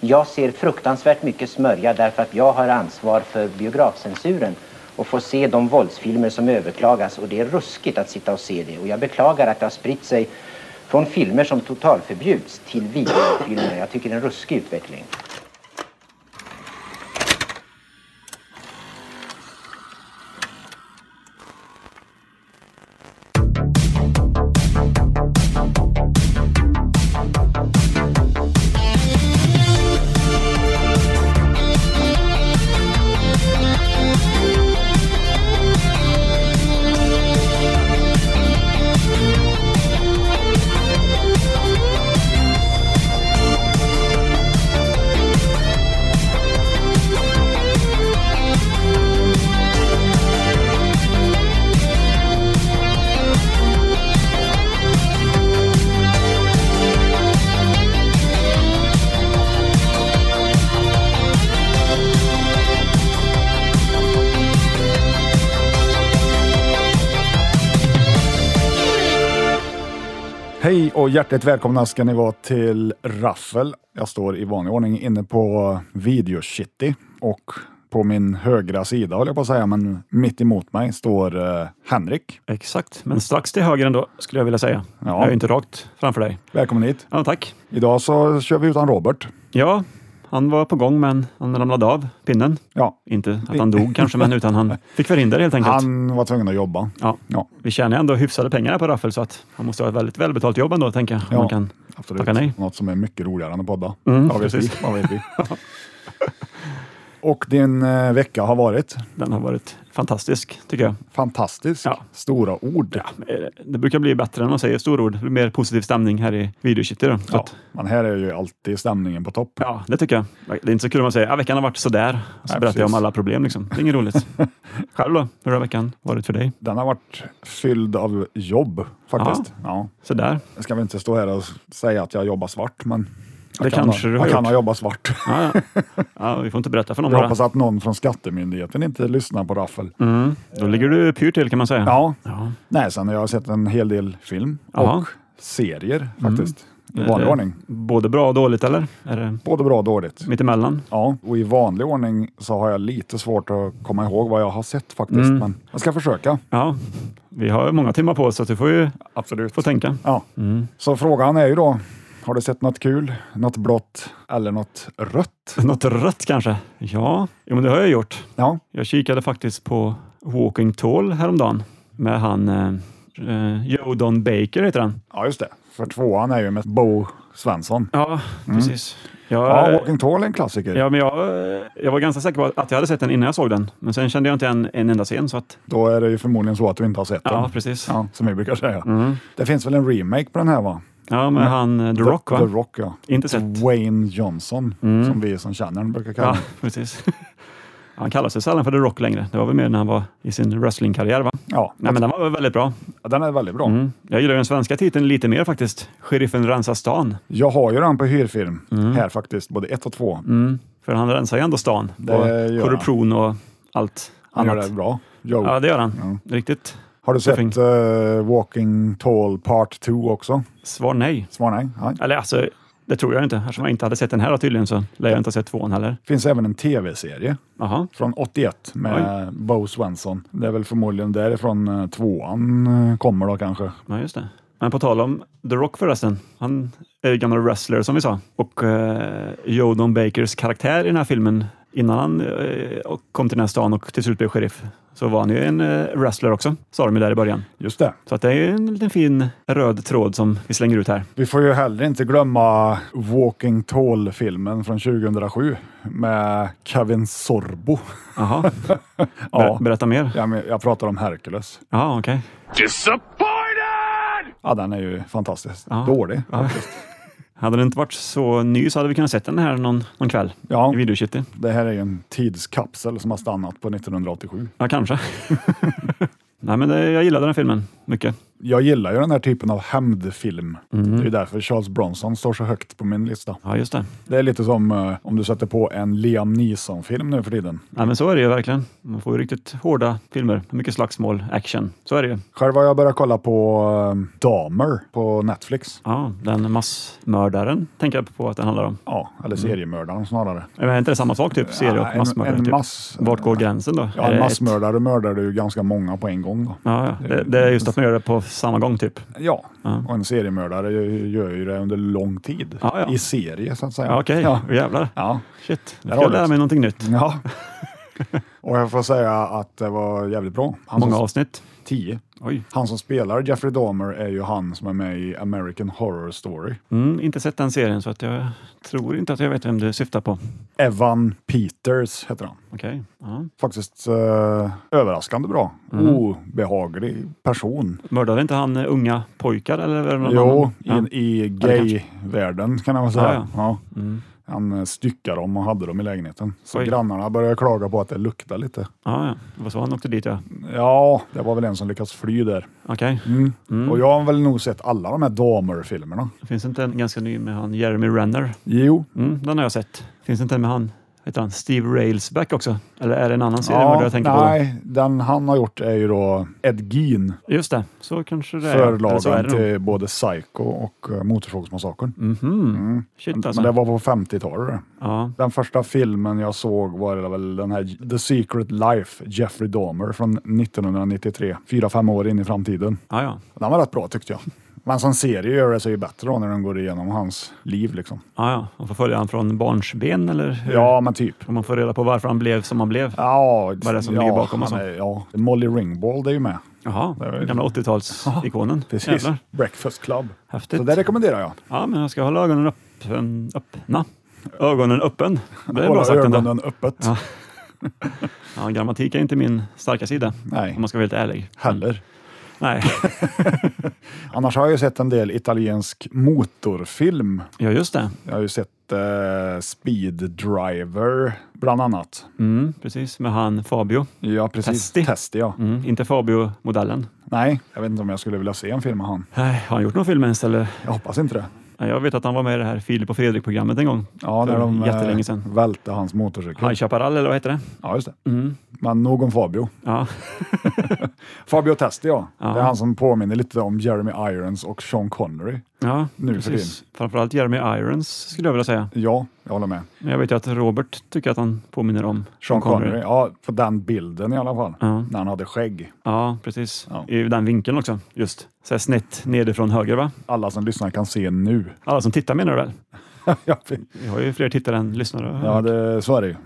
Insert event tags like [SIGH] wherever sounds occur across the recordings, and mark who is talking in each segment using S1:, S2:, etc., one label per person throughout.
S1: Jag ser fruktansvärt mycket smörja därför att jag har ansvar för biografcensuren och får se de våldsfilmer som överklagas. Det är ruskigt att sitta och se det. Jag beklagar att det har spritt sig från filmer som totalförbjuds till videofilmer. Jag tycker det är en ruskig utveckling.
S2: Hej och hjärtligt välkomna ska ni vara till Raffel. Jag står i vanlig ordning inne på Videocity och på min högra sida håller jag på att säga, men mitt emot mig står eh, Henrik.
S3: Exakt, men strax till höger ändå skulle jag vilja säga.
S2: Ja.
S3: Jag är ju inte rakt framför dig.
S2: Välkommen hit.
S3: Ja, tack.
S2: Idag så kör vi utan Robert.
S3: Ja, han var på gång men han ramlade av pinnen.
S2: Ja,
S3: Inte att han dog kanske, men utan han fick förhinder helt enkelt.
S2: han var tvungen att jobba.
S3: Ja.
S2: Ja,
S3: Vi tjänar ändå hyfsade pengar här på Raffel så att han måste ha ett väldigt välbetalt jobb ändå, tänker jag. om
S2: Ja.
S3: Man kan...
S2: absolut.
S3: Tacka nej.
S2: Något som är mycket roligare än att podda.
S3: Mm,
S2: vad, vet vi,
S3: precis.
S2: vad vet
S3: [LAUGHS]
S2: vi? Och din eh, vecka har varit
S3: Den har varit fantastisk, tycker jag.
S2: fantastisk.
S3: Ja.
S2: Stora ord.
S3: Eh, Det brukar bli bättre när man säger storord. Det blir mer positiv stämning här i videokitty. då. Så
S2: Ja,
S3: att-
S2: men här är ju alltid stämningen på topp.
S3: Ja, det tycker jag. Det är inte så kul om man säger att veckan har varit sådär. Och så
S2: Nej,
S3: berättar jag
S2: precis.
S3: om alla problem. Liksom. Det är
S2: [LAUGHS]
S3: inget roligt. Själv då? Hur har veckan varit för dig?
S2: Den har varit fylld av jobb faktiskt. Ja.
S3: Sådär.
S2: Jag ska väl inte stå här och s- säga att jag jobbar svart, men jag
S3: Det
S2: kan
S3: kanske
S2: ha,
S3: du har
S2: jag kan
S3: gjort.
S2: ha jobbat svart.
S3: Ja, ja. ja, vi får inte berätta för någon.
S2: Jag
S3: bara.
S2: hoppas att någon från Skattemyndigheten inte lyssnar på Raffel.
S3: Mm. Då ligger du pyrt till kan man säga.
S2: Ja,
S3: Ja.
S2: nej, sen har jag sett en hel del film
S3: Jaha.
S2: och serier faktiskt. I vanlig
S3: Eh,
S2: ordning.
S3: Både bra och dåligt eller? Är det
S2: Både bra och dåligt.
S3: mittemellan?
S2: Ja, och i vanlig ordning så har jag lite svårt att komma ihåg vad jag har sett faktiskt,
S3: Mm.
S2: men jag ska försöka.
S3: Ja, vi har ju många timmar på oss så att du får ju
S2: Absolut.
S3: få tänka.
S2: Ja.
S3: Mm.
S2: Så frågan är ju då, har du sett något kul, något blått eller något rött?
S3: Något rött kanske? Ja, jo, men det har jag gjort.
S2: Ja,
S3: Jag kikade faktiskt på Walking Tall häromdagen med han eh, eh, Jodon Baker heter han.
S2: ja just det. För tvåan är ju med Bo Svensson.
S3: Ja, precis. Jag,
S2: Mm. Ja, Walking Tall är en klassiker.
S3: eh, ja, men jag, eh, jag var ganska säker på att jag hade sett den innan jag såg den, men sen kände jag inte en, en enda scen. Så att,
S2: Då är det ju förmodligen så att du inte har sett
S3: ja,
S2: den.
S3: precis.
S2: Ja, som vi brukar säga.
S3: Mm.
S2: Det finns väl en remake på den här va?
S3: Ja, men han eh, The Rock va?
S2: Mm. The Rock ja.
S3: Inte sett.
S2: Wayne Johnson,
S3: Mm.
S2: som vi som känner honom brukar kalla
S3: Ja,
S2: honom.
S3: precis. [LAUGHS] Han kallar sig sällan för The Rock längre. Det var väl mer när han var i sin wrestlingkarriär va?
S2: Ja.
S3: Nej, men den var väl väldigt bra.
S2: den är väldigt bra.
S3: Mm. Jag gillar ju den svenska titeln lite mer faktiskt. Sheriffen rensar stan.
S2: Jag har ju den på hyrfilm här faktiskt, både ett och två.
S3: Mm. För han rensar ju ändå stan.
S2: Det
S3: Och
S2: gör han.
S3: korruption och allt
S2: Han gör
S3: annat.
S2: det bra. Joe.
S3: Ja, det gör han. Riktigt.
S2: har du
S3: fint.
S2: sett eh, Walking Tall Part 2 också?
S3: Svar nej.
S2: Svar nej. nej.
S3: Eller alltså, det tror jag inte. Eftersom jag inte hade sett den här då, tydligen så lär jag inte ha sett tvåan heller.
S2: finns även en tv-serie
S3: Jaha.
S2: från 81 med Bo Svensson. Det är väl förmodligen därifrån eh, tvåan eh, kommer då kanske.
S3: Ja, just det. Men på tal om The Rock förresten. Han är ju gammal wrestler som vi sa. Och eh, Jodon Bakers karaktär i den här filmen innan han eh, och kom till den här stan och till slut blev sheriff så var han ju en eh, wrestler också, sa de ju där i början.
S2: Just det.
S3: Så att det är ju en liten fin röd tråd som vi slänger ut här.
S2: Vi får ju heller inte glömma Walking Tall-filmen från 2007 med Kevin Sorbo.
S3: Jaha, [LAUGHS] Ber-
S2: Ja.
S3: berätta mer.
S2: Jag, men- jag pratar om Hercules.
S3: Ja, okej.
S4: Disappointed!
S2: Ja, den är ju fantastiskt
S3: Ja.
S2: dålig.
S3: Hade den inte varit så ny så hade vi kunnat sett den här någon, någon kväll
S2: Ja,
S3: i videokitty.
S2: det här är ju en tidskapsel som har stannat på 1987.
S3: [LAUGHS] Ja, kanske. Nej, men det, jag gillade den här filmen mycket.
S2: Jag gillar ju den här typen av hämndfilm.
S3: Mm.
S2: Det är ju därför Charles Bronson står så högt på min lista.
S3: Ja, just det.
S2: Det är lite som eh, om du sätter på en Liam Neeson-film nu för tiden.
S3: Ja, men så är det ju verkligen. Man får ju riktigt hårda filmer. Mycket slagsmål, action. Så är det ju.
S2: Själv har jag börjat kolla på eh, Dahmer på Netflix.
S3: Ja, den massmördaren tänker jag på att den handlar om.
S2: Ja, eller seriemördaren snarare.
S3: Men är inte det samma sak? Typ Mm. serie och
S2: en-
S3: massmördare?
S2: en
S3: typ.
S2: mass-
S3: Vart går gränsen då? Är
S2: Ja,
S3: det
S2: en
S3: ett-
S2: massmördare mördar du ju ganska många på en gång. Då.
S3: Ja, ja.
S2: Mm.
S3: Det, det är just att man gör det på samma gång typ.
S2: Ja,
S3: Ja.
S2: och en seriemördare ju- gör ju det under lång tid.
S3: Ja, ja.
S2: I serie så att säga.
S3: Ja, Okej,
S2: Ja.
S3: jävlar.
S2: Ja.
S3: Shit, nu
S2: Där
S3: fick
S2: har
S3: jag
S2: du
S3: lära
S2: det.
S3: mig någonting nytt.
S2: ja. och jag får säga att det var jävligt bra. Han
S3: Många
S2: som,
S3: avsnitt.
S2: tio.
S3: Oj.
S2: Han som spelar Jeffrey Dahmer är ju han som är med i American Horror Story.
S3: Mm, inte sett den serien så att jag tror inte att jag vet vem du syftar på.
S2: Evan Peters heter han.
S3: Okej. Ja.
S2: Faktiskt eh, överraskande bra.
S3: Mm.
S2: Obehaglig person.
S3: Mördade inte han eh, unga pojkar eller var det någon
S2: Jo,
S3: annan? Mm. Ja.
S2: i, i
S3: det
S2: gay-världen kan man väl säga.
S3: Ja, Mm.
S2: Ja, Han eh, styckade dem och hade dem i lägenheten. Så
S3: Oj.
S2: grannarna började klaga på att det luktade lite.
S3: Ja, ja. Det var så han åkte dit ja.
S2: Ja, det var väl en som lyckats fly där.
S3: Okej.
S2: Mm. Och jag har väl nog sett alla de här Dahmer-filmerna.
S3: Finns inte en ganska ny med han Jeremy Renner?
S2: Jo,
S3: Mm, den har jag sett. Finns inte en med han, heter han Steve Railsback också? Eller är det en annan serie
S2: ja,
S3: jag tänker på?
S2: nej, den han har gjort är ju då Ed Gein,
S3: Just det, så kanske det är. Eller så
S2: förlagen
S3: är det nog.
S2: till både Psycho och eh, Motorsågsmassakern.
S3: Mhm. Shit alltså.
S2: Mm. Men det var på 50-talet. det.
S3: Ja,
S2: Den första filmen jag såg var väl den här The Secret Life, Jeffrey Dahmer från 1993. Fyra, fem år in i framtiden.
S3: ja, ja.
S2: Den var rätt bra tyckte jag. Men som serie gör det sig ju bättre då när den går igenom hans liv liksom.
S3: ja, ja. Man får följa han från barnsben eller hur?
S2: Ja, men typ.
S3: Och man får reda på varför han blev som han blev.
S2: Ja,
S3: Vad är det som
S2: ja,
S3: ligger bakom och
S2: han
S3: så?
S2: är, ja. Molly Ringwald är ju med.
S3: Jaha,
S2: Det är väl-
S3: den gamla 80-talsikonen.
S2: Precis.
S3: Jävlar,
S2: Breakfast Club.
S3: häftigt.
S2: Så det rekommenderar jag.
S3: Ja, men jag ska hålla ögonen öppen, öppna. Ögonen öppen. Det är bra
S2: Hålla
S3: sagt ändå.
S2: ögonen öppet.
S3: Ja. Ja, grammatik är inte min starka sida,
S2: Nej,
S3: om man ska vara helt ärlig.
S2: heller.
S3: Nej, [LAUGHS]
S2: Annars har jag ju sett en del italiensk motorfilm.
S3: ja just det.
S2: Jag har ju sett eh, Speed Driver bland annat.
S3: Mm, precis, med han Fabio.
S2: Ja, precis.
S3: Testi.
S2: Testi, ja.
S3: Mm, inte Fabio-modellen.
S2: Nej, jag vet inte om jag skulle vilja se en film med han.
S3: Nej, Har han gjort någon film ens? Eller?
S2: Jag hoppas inte det.
S3: Ja, Jag vet att han var med i det här Filip och Fredrik-programmet en gång.
S2: Ja,
S3: För
S2: när de eh,
S3: jättelänge sedan.
S2: välte hans motorcykel.
S3: High Chaparral, eller vad heter det?
S2: Ja, just det.
S3: Mm.
S2: Men nog om Fabio.
S3: Ja,
S2: Fabio Testi, ja.
S3: Ja.
S2: Det är han som påminner lite om Jeremy Irons och Sean Connery.
S3: ja
S2: Nu för
S3: precis. Framförallt Jeremy Irons skulle jag vilja säga.
S2: Ja, jag håller med.
S3: Men Jag vet ju att Robert tycker att han påminner om
S2: Sean Connery. Ja, på den bilden i alla fall.
S3: Ja.
S2: När han hade skägg.
S3: Ja, precis.
S2: Ja.
S3: I den vinkeln också. Just. Så här snett nedifrån höger, va?
S2: Alla som lyssnar kan se nu. [LAUGHS]
S3: Alla som tittar menar du väl?
S2: ja,
S3: Vi har ju fler tittare än lyssnare.
S2: ja, det, så är det ju.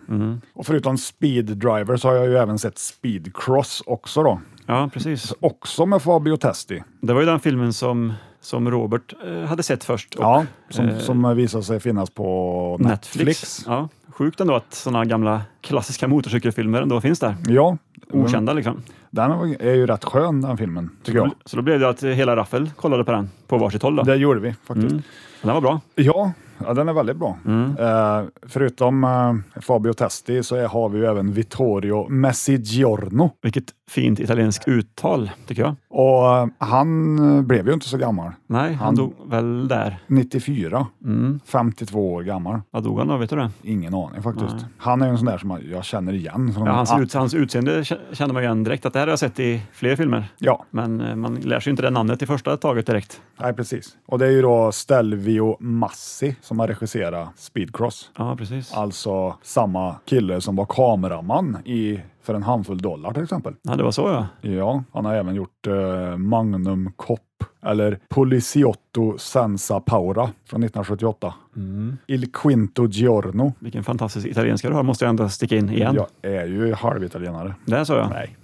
S2: Och förutom Speed Driver så har jag ju även sett Speed Cross också då.
S3: Ja, precis.
S2: Också med Fabio Testi.
S3: Det var ju den filmen som, som Robert eh, hade sett först. Och
S2: Ja, som,
S3: eh,
S2: som visar sig finnas på
S3: Netflix.
S2: Netflix.
S3: Ja, sjukt ändå att sådana gamla klassiska motorcykelfilmer ändå finns där.
S2: Ja,
S3: Okända liksom.
S2: den är ju rätt skön den filmen, Mm. tycker jag.
S3: Så då blev det att hela Raffel kollade på den på varsitt håll. Då.
S2: Det gjorde vi faktiskt.
S3: Den var bra.
S2: Ja, ja, den är väldigt bra. Eh, förutom eh, Fabio Testi så är, har vi ju även Vittorio Messigiorno.
S3: Vilket fint italienskt uttal, tycker jag.
S2: Och eh, han eh, blev ju inte så gammal.
S3: Nej, han,
S2: Han-
S3: dog väl där.
S2: 94, 52 år gammal.
S3: Vad dog han då? Vet du det?
S2: Ingen aning faktiskt. Han är ju en sån där som jag känner igen. Från
S3: Ja, hans,
S2: Ah,
S3: ut, hans utseende k- kände man ju igen direkt att det här har jag sett i fler filmer.
S2: Ja,
S3: Men eh, man lär sig ju inte det namnet i första taget direkt.
S2: nej, precis. Och det är ju då Stelvio Massi som har regisserat Speedcross.
S3: Ja, precis.
S2: Alltså samma kille som var kameraman i För en handfull dollar till exempel.
S3: Ja, det var så ja.
S2: Ja, han har även gjort eh, Magnum Cop eller Poliziotto Senza Paura från 1978.
S3: Mm.
S2: Il Quinto Giorno.
S3: Vilken fantastisk italienska du har, måste jag ändå sticka in igen.
S2: Jag är ju halvitalienare.
S3: Det sa jag.
S2: Nej.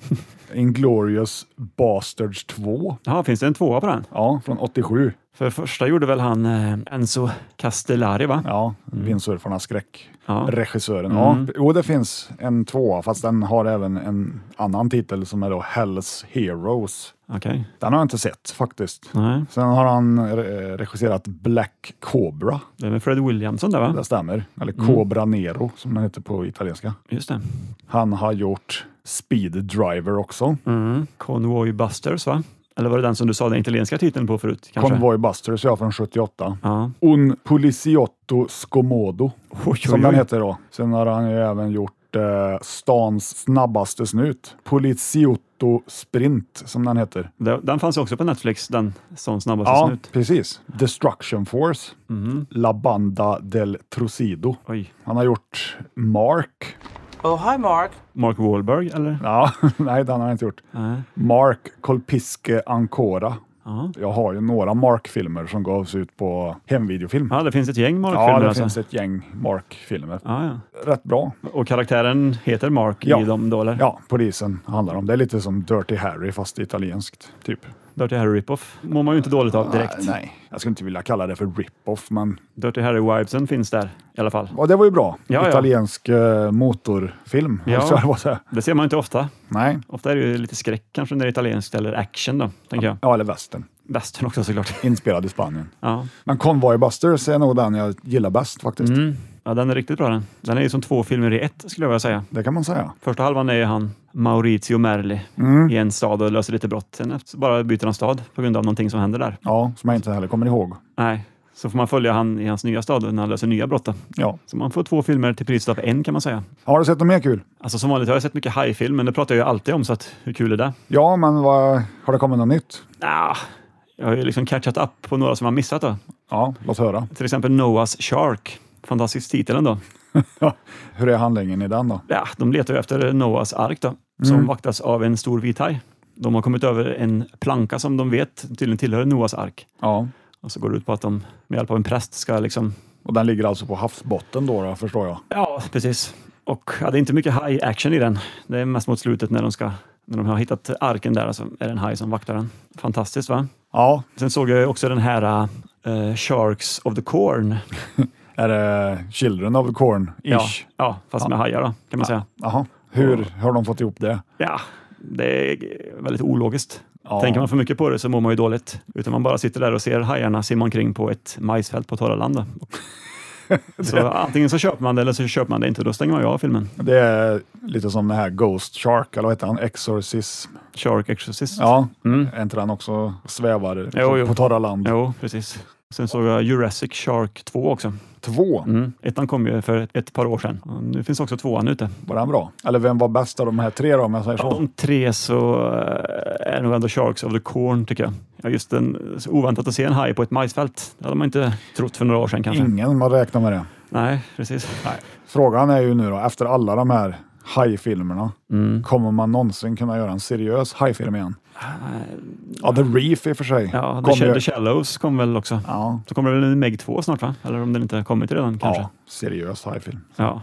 S2: [LAUGHS] Inglorious Bastards 2.
S3: Ja, finns det en tvåa på den?
S2: Ja, från 87.
S3: För första gjorde väl han eh, Enzo Castellari, va?
S2: Ja, Vindsurfarnas skräck.
S3: Ja.
S2: Regissören. Ja, jo, det finns en tvåa, fast den har även en annan titel som är då Hells Heroes.
S3: Okej.
S2: Den har jag inte sett faktiskt.
S3: Nej,
S2: Sen har han eh, regisserat Black Cobra.
S3: det är med Fred Williamson där, va?
S2: Det stämmer. Eller Cobra Nero som den heter på italienska.
S3: Just det.
S2: Han har gjort Speed Driver också.
S3: Mm. Convoy Busters, va? Eller var det den som du sa den italienska titeln på förut? Kanske?
S2: Convoy Busters, ja, från 78.
S3: Ja.
S2: Un Poliziotto Scomodo,
S3: oj,
S2: som
S3: oj.
S2: den heter då. Sen har han ju även gjort eh, stans snabbaste snut, Poliziotto Sprint, som den heter. Alltså
S3: Den den fanns ju också på Netflix, den som snabbast
S2: Ja,
S3: snut.
S2: precis. Destruction Force,
S3: Mhm.
S2: La Banda del Trocido.
S3: Oj.
S2: Han har gjort Mark.
S4: Oh, hi, Mark.
S3: Mark Wahlberg, eller?
S2: Ja, [LAUGHS] nej, den har han inte gjort.
S3: Nej.
S2: Mark Kolpiske Ancora.
S3: Ja.
S2: Jag har ju några Mark-filmer som gavs ut på hemvideofilm.
S3: ja, det finns ett gäng
S2: Ja,
S3: Mark-filmer
S2: det
S3: alltså.
S2: finns ett gäng Mark-filmer.
S3: Ja, ja.
S2: Rätt bra.
S3: Och karaktären heter Mark
S2: Ja.
S3: i dem då, eller?
S2: Ja, polisen handlar om. Det är lite som Dirty Harry fast italienskt, typ.
S3: Dirty Harry Ripoff mår man ju inte dåligt av direkt.
S2: Nej, nej, jag skulle inte vilja kalla det för rip-off, men
S3: Dirty Harry-vibesen finns där i alla fall.
S2: ja, det var ju bra.
S3: Ja, ja.
S2: Italiensk eh, motorfilm,
S3: Ja.
S2: så jag bara säga.
S3: Det ser man ju inte ofta.
S2: Nej,
S3: Ofta är det ju lite skräck kanske när det är italienskt eller action då, tänker jag.
S2: ja, eller västern.
S3: Västern också såklart.
S2: Inspelad i Spanien.
S3: Ja.
S2: Men Convoy Busters är nog den jag gillar bäst faktiskt.
S3: Mm. ja, den är riktigt bra den. Den är ju som två filmer i ett skulle jag vilja säga.
S2: Det kan man säga.
S3: Första halvan är ju han Maurizio Merli
S2: Mm.
S3: i en stad och löser lite brott. Sen efter- bara byter han stad på grund av någonting som händer där.
S2: Ja, som jag inte heller kommer ihåg.
S3: Nej, så får man följa han i hans nya stad när han löser nya brott. Då.
S2: Ja.
S3: Så man får två filmer till priset av en kan man säga.
S2: Har du sett något mer kul?
S3: Alltså som vanligt har jag sett mycket hajfilm, men det pratar jag ju alltid om, så att, hur kul är det?
S2: Ja, men vad, har det kommit något nytt?
S3: Nja, jag har ju liksom catchat up på några som har missat då.
S2: Ja, låt höra. [LAUGHS]
S3: Till exempel Noah's Shark. Fantastisk titel ändå.
S2: Hur är handlingen i den då?
S3: Ja, de letar ju efter Noahs ark då, som vaktas av en stor vit haj. De har kommit över en planka som de vet tydligen tillhör Noahs ark.
S2: Ja,
S3: Och så går det ut på att de med hjälp av en präst ska liksom...
S2: och den ligger alltså på havsbotten då, då förstår jag.
S3: Ja, precis. Och ja, det är inte mycket high action i den. Det är mest mot slutet när de ska... När de har hittat arken där, alltså, är det en haj som vaktar den. Fantastiskt va?
S2: Ja,
S3: Sen såg jag ju också den här eh, Sharks of the Corn.
S2: är det Children of the Corn-ish?
S3: ja, fast med hajar då, kan man säga.
S2: Jaha. Hur har de fått ihop det?
S3: Ja, det är väldigt ologiskt.
S2: Ja.
S3: Tänker man för mycket på det så mår man ju dåligt. Utan man bara sitter där och ser hajarna simma omkring på ett majsfält på torra [LAUGHS] land. då. Så antingen så köper man det eller så köper man det inte. Då stänger man ju av filmen.
S2: Det är lite som den här Ghost Shark, eller vad heter han? Exorcism.
S3: Shark Exorcist.
S2: Ja,
S3: Mm.
S2: är inte den också svävar
S3: Jo, jo.
S2: på torra land?
S3: Jo, precis. Sen såg jag Jurassic Shark 2 också.
S2: Två,
S3: Mm. Ettan kom ju för ett, ett par år sedan. Och nu finns också tvåan ute.
S2: var den bra? Eller vem var bäst av de här tre då, om jag säger
S3: Av
S2: så?
S3: de tre så eh, är nog ändå Sharks of the Corn tycker jag. Ja, just den, så oväntat att se en haj på ett majsfält. Det hade man inte trott för några år sedan kanske.
S2: Ingen man räknar med det.
S3: Nej, precis.
S2: Frågan är ju nu då, efter alla de här hajfilmerna,
S3: Mm.
S2: kommer man någonsin kunna göra en seriös hajfilm igen? Ja, The Reef i och för sig.
S3: Ja, The,
S2: Kom
S3: Sh-
S2: ju-
S3: The Shallows kom väl också.
S2: ja,
S3: Så kommer det väl en Meg 2 snart va? Eller om den inte har kommit redan kanske?
S2: ja, seriös hajfilm.
S3: Ja.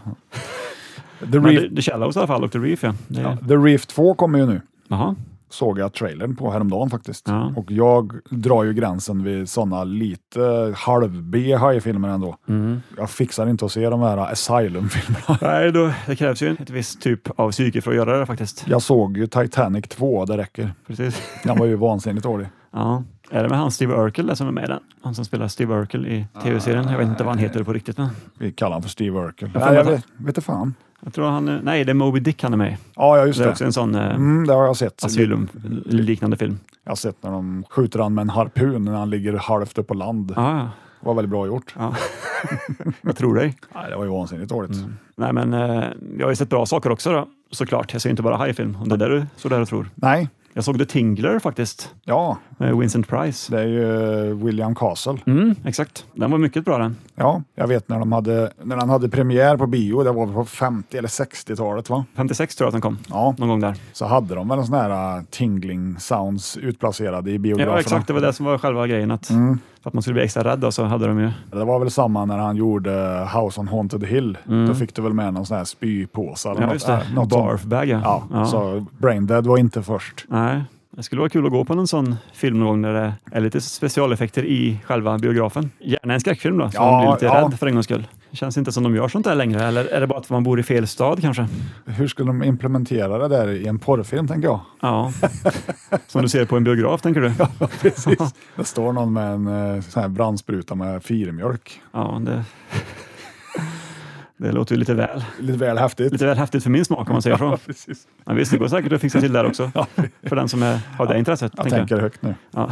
S2: The
S3: Men
S2: Reef,
S3: The, The Shallows i alla fall och The Reef ja. Det,
S2: ja, The Reef 2 kommer ju nu. [LAUGHS]
S3: Jaha.
S2: såg jag trailern på häromdagen faktiskt.
S3: Ja.
S2: Och jag drar ju gränsen vid sådana lite halv-B hajfilmer ändå.
S3: Mm.
S2: Jag fixar inte att se de här Asylum-filmerna.
S3: Nej, då, det krävs ju ett visst typ av psyke för att göra det faktiskt.
S2: Jag såg ju Titanic 2, det räcker.
S3: Precis.
S2: Den var ju vansinnigt dålig.
S3: Ja. Är det med han Steve Urkel där som är med i den? Han som spelar Steve Urkel i tv-serien. Jag vet inte vad han heter på riktigt. Men
S2: Vi kallar honom för Steve Urkel.
S3: Jag får
S2: Nej, jag
S3: vänta.
S2: vet, vet inte fan.
S3: jag tror han... eh, Nej, det är Moby Dick han är med i.
S2: Ja, ja, just
S3: Det är
S2: det.
S3: också en sån eh,
S2: Mm, det har jag sett.
S3: asylum-liknande film.
S2: Jag har sett när de skjuter han med en harpun när han ligger halvt upp på land.
S3: Ja, Ah, ja.
S2: Det var väldigt bra gjort.
S3: ja. jag tror dig.
S2: Nej, det var ju vansinnigt dåligt.
S3: Nej, men eh, jag har ju sett bra saker också då, såklart. Jag ser inte bara hajfilm, om det är där du så där och tror.
S2: Nej,
S3: Jag såg The Tingler faktiskt,
S2: ja,
S3: med Vincent Price.
S2: det är ju William Castle.
S3: Mm, exakt. Den var mycket bra den.
S2: Ja, jag vet när, de hade, när han hade premiär på bio, det var väl på 50 eller 60-talet va?
S3: 56 tror jag att den kom,
S2: Ja,
S3: någon gång där.
S2: så hade de väl en sån här äh, tingling sounds utplacerade i biograferna.
S3: Ja, exakt. Det var det som var själva grejen, att, för att man skulle bli extra rädd då, så hade de ju...
S2: Det var väl samma när han gjorde House on Haunted Hill. Då fick du väl med någon sån här spypåse eller
S3: Mm. Ja,
S2: något,
S3: just
S2: äh,
S3: det.
S2: något sånt.
S3: Barfbag,
S2: Ja, så Braindead var inte först.
S3: Nej, det skulle vara kul att gå på någon sån film någon gång där det är lite specialeffekter i själva biografen. Gärna en skräckfilm då, så
S2: Ja,
S3: man blir lite
S2: ja.
S3: rädd för en gångs skull. Det känns inte som de gör sånt där längre, eller är det bara att man bor i fel stad kanske?
S2: Hur skulle de implementera det där i en porrfilm tänker
S3: [LAUGHS]
S2: jag? [LAUGHS]
S3: Ja, som du ser på en biograf tänker du?
S2: Ja, precis. Det står någon med en äh, sån här brandspruta med firmjölk.
S3: Ja, det... Det låter ju lite väl,
S2: Lite väl häftigt.
S3: lite väl häftigt för min smak om man säger så.
S2: [LAUGHS] Ja, precis.
S3: Men visst, det går säkert att fixa till där också. För den som är, har det intresset.
S2: Jag
S3: tänker jag.
S2: tänker högt nu. Mm.
S3: Ja.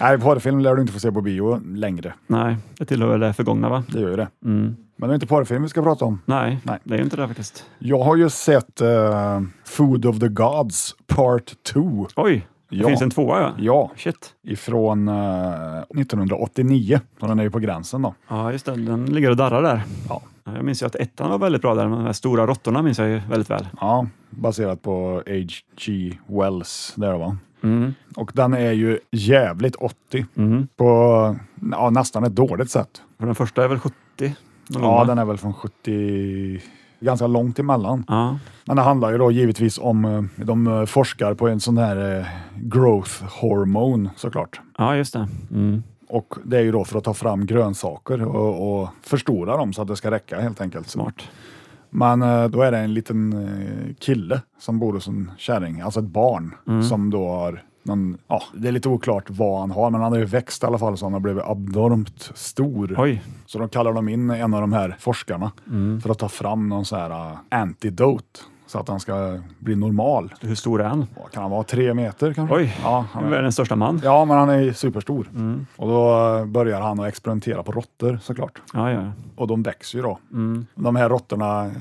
S2: Nej, porrfilm lär du inte få se på bio längre.
S3: Nej, det tillhör väl det förgångna va?
S2: Det gör ju det.
S3: Mm.
S2: Men det är inte porrfilm vi ska prata om.
S3: Nej,
S2: Nej.
S3: det är ju inte det faktiskt.
S2: Jag har ju sett eh, Food of the Gods Part 2.
S3: Oj, det
S2: Ja.
S3: finns en tvåa ja.
S2: Ja,
S3: Shit.
S2: ifrån eh, 1989. Så den är ju på gränsen då.
S3: Ja, just det. Den ligger och darrar där.
S2: Ja.
S3: Ja, Jag minns ju att ettan var väldigt bra där, men de här stora råttorna minns jag ju väldigt väl.
S2: Ja, baserat på H.G. Wells där va.
S3: Mm.
S2: Och den är ju jävligt 80
S3: Mm.
S2: på ja, nästan ett dåligt sätt.
S3: För den första är väl 70? någon gång,
S2: Ja,
S3: va?
S2: den är väl från 70, ganska långt emellan.
S3: Ja.
S2: Men det handlar ju då givetvis om, eh, de eh, forskar på en sån här eh, growth hormone såklart.
S3: ja, just det. Mm.
S2: Och det är ju då för att ta fram grönsaker och, och förstora dem så att det ska räcka helt enkelt.
S3: Smart.
S2: Men eh, då är det en liten eh, kille som bor hos en kärring, alltså ett barn som då har någon, ja, det är lite oklart vad han har, men han har ju växt i alla fall så han har blivit abnormt stor.
S3: Oj,
S2: Så de kallar de in en av de här forskarna för att ta fram någon så här eh, antidote så att han ska bli normal.
S3: hur stor är han?
S2: Vad Kan han vara tre meter kanske?
S3: Oj, Mm.
S2: ja,
S3: han
S2: han
S3: är
S2: är,
S3: världens största man.
S2: ja, men han är ju superstor. Och då eh, börjar han att experimentera på råttor såklart.
S3: Ja, ja.
S2: Och de växer ju då.
S3: Mm.
S2: De här råttorna eh,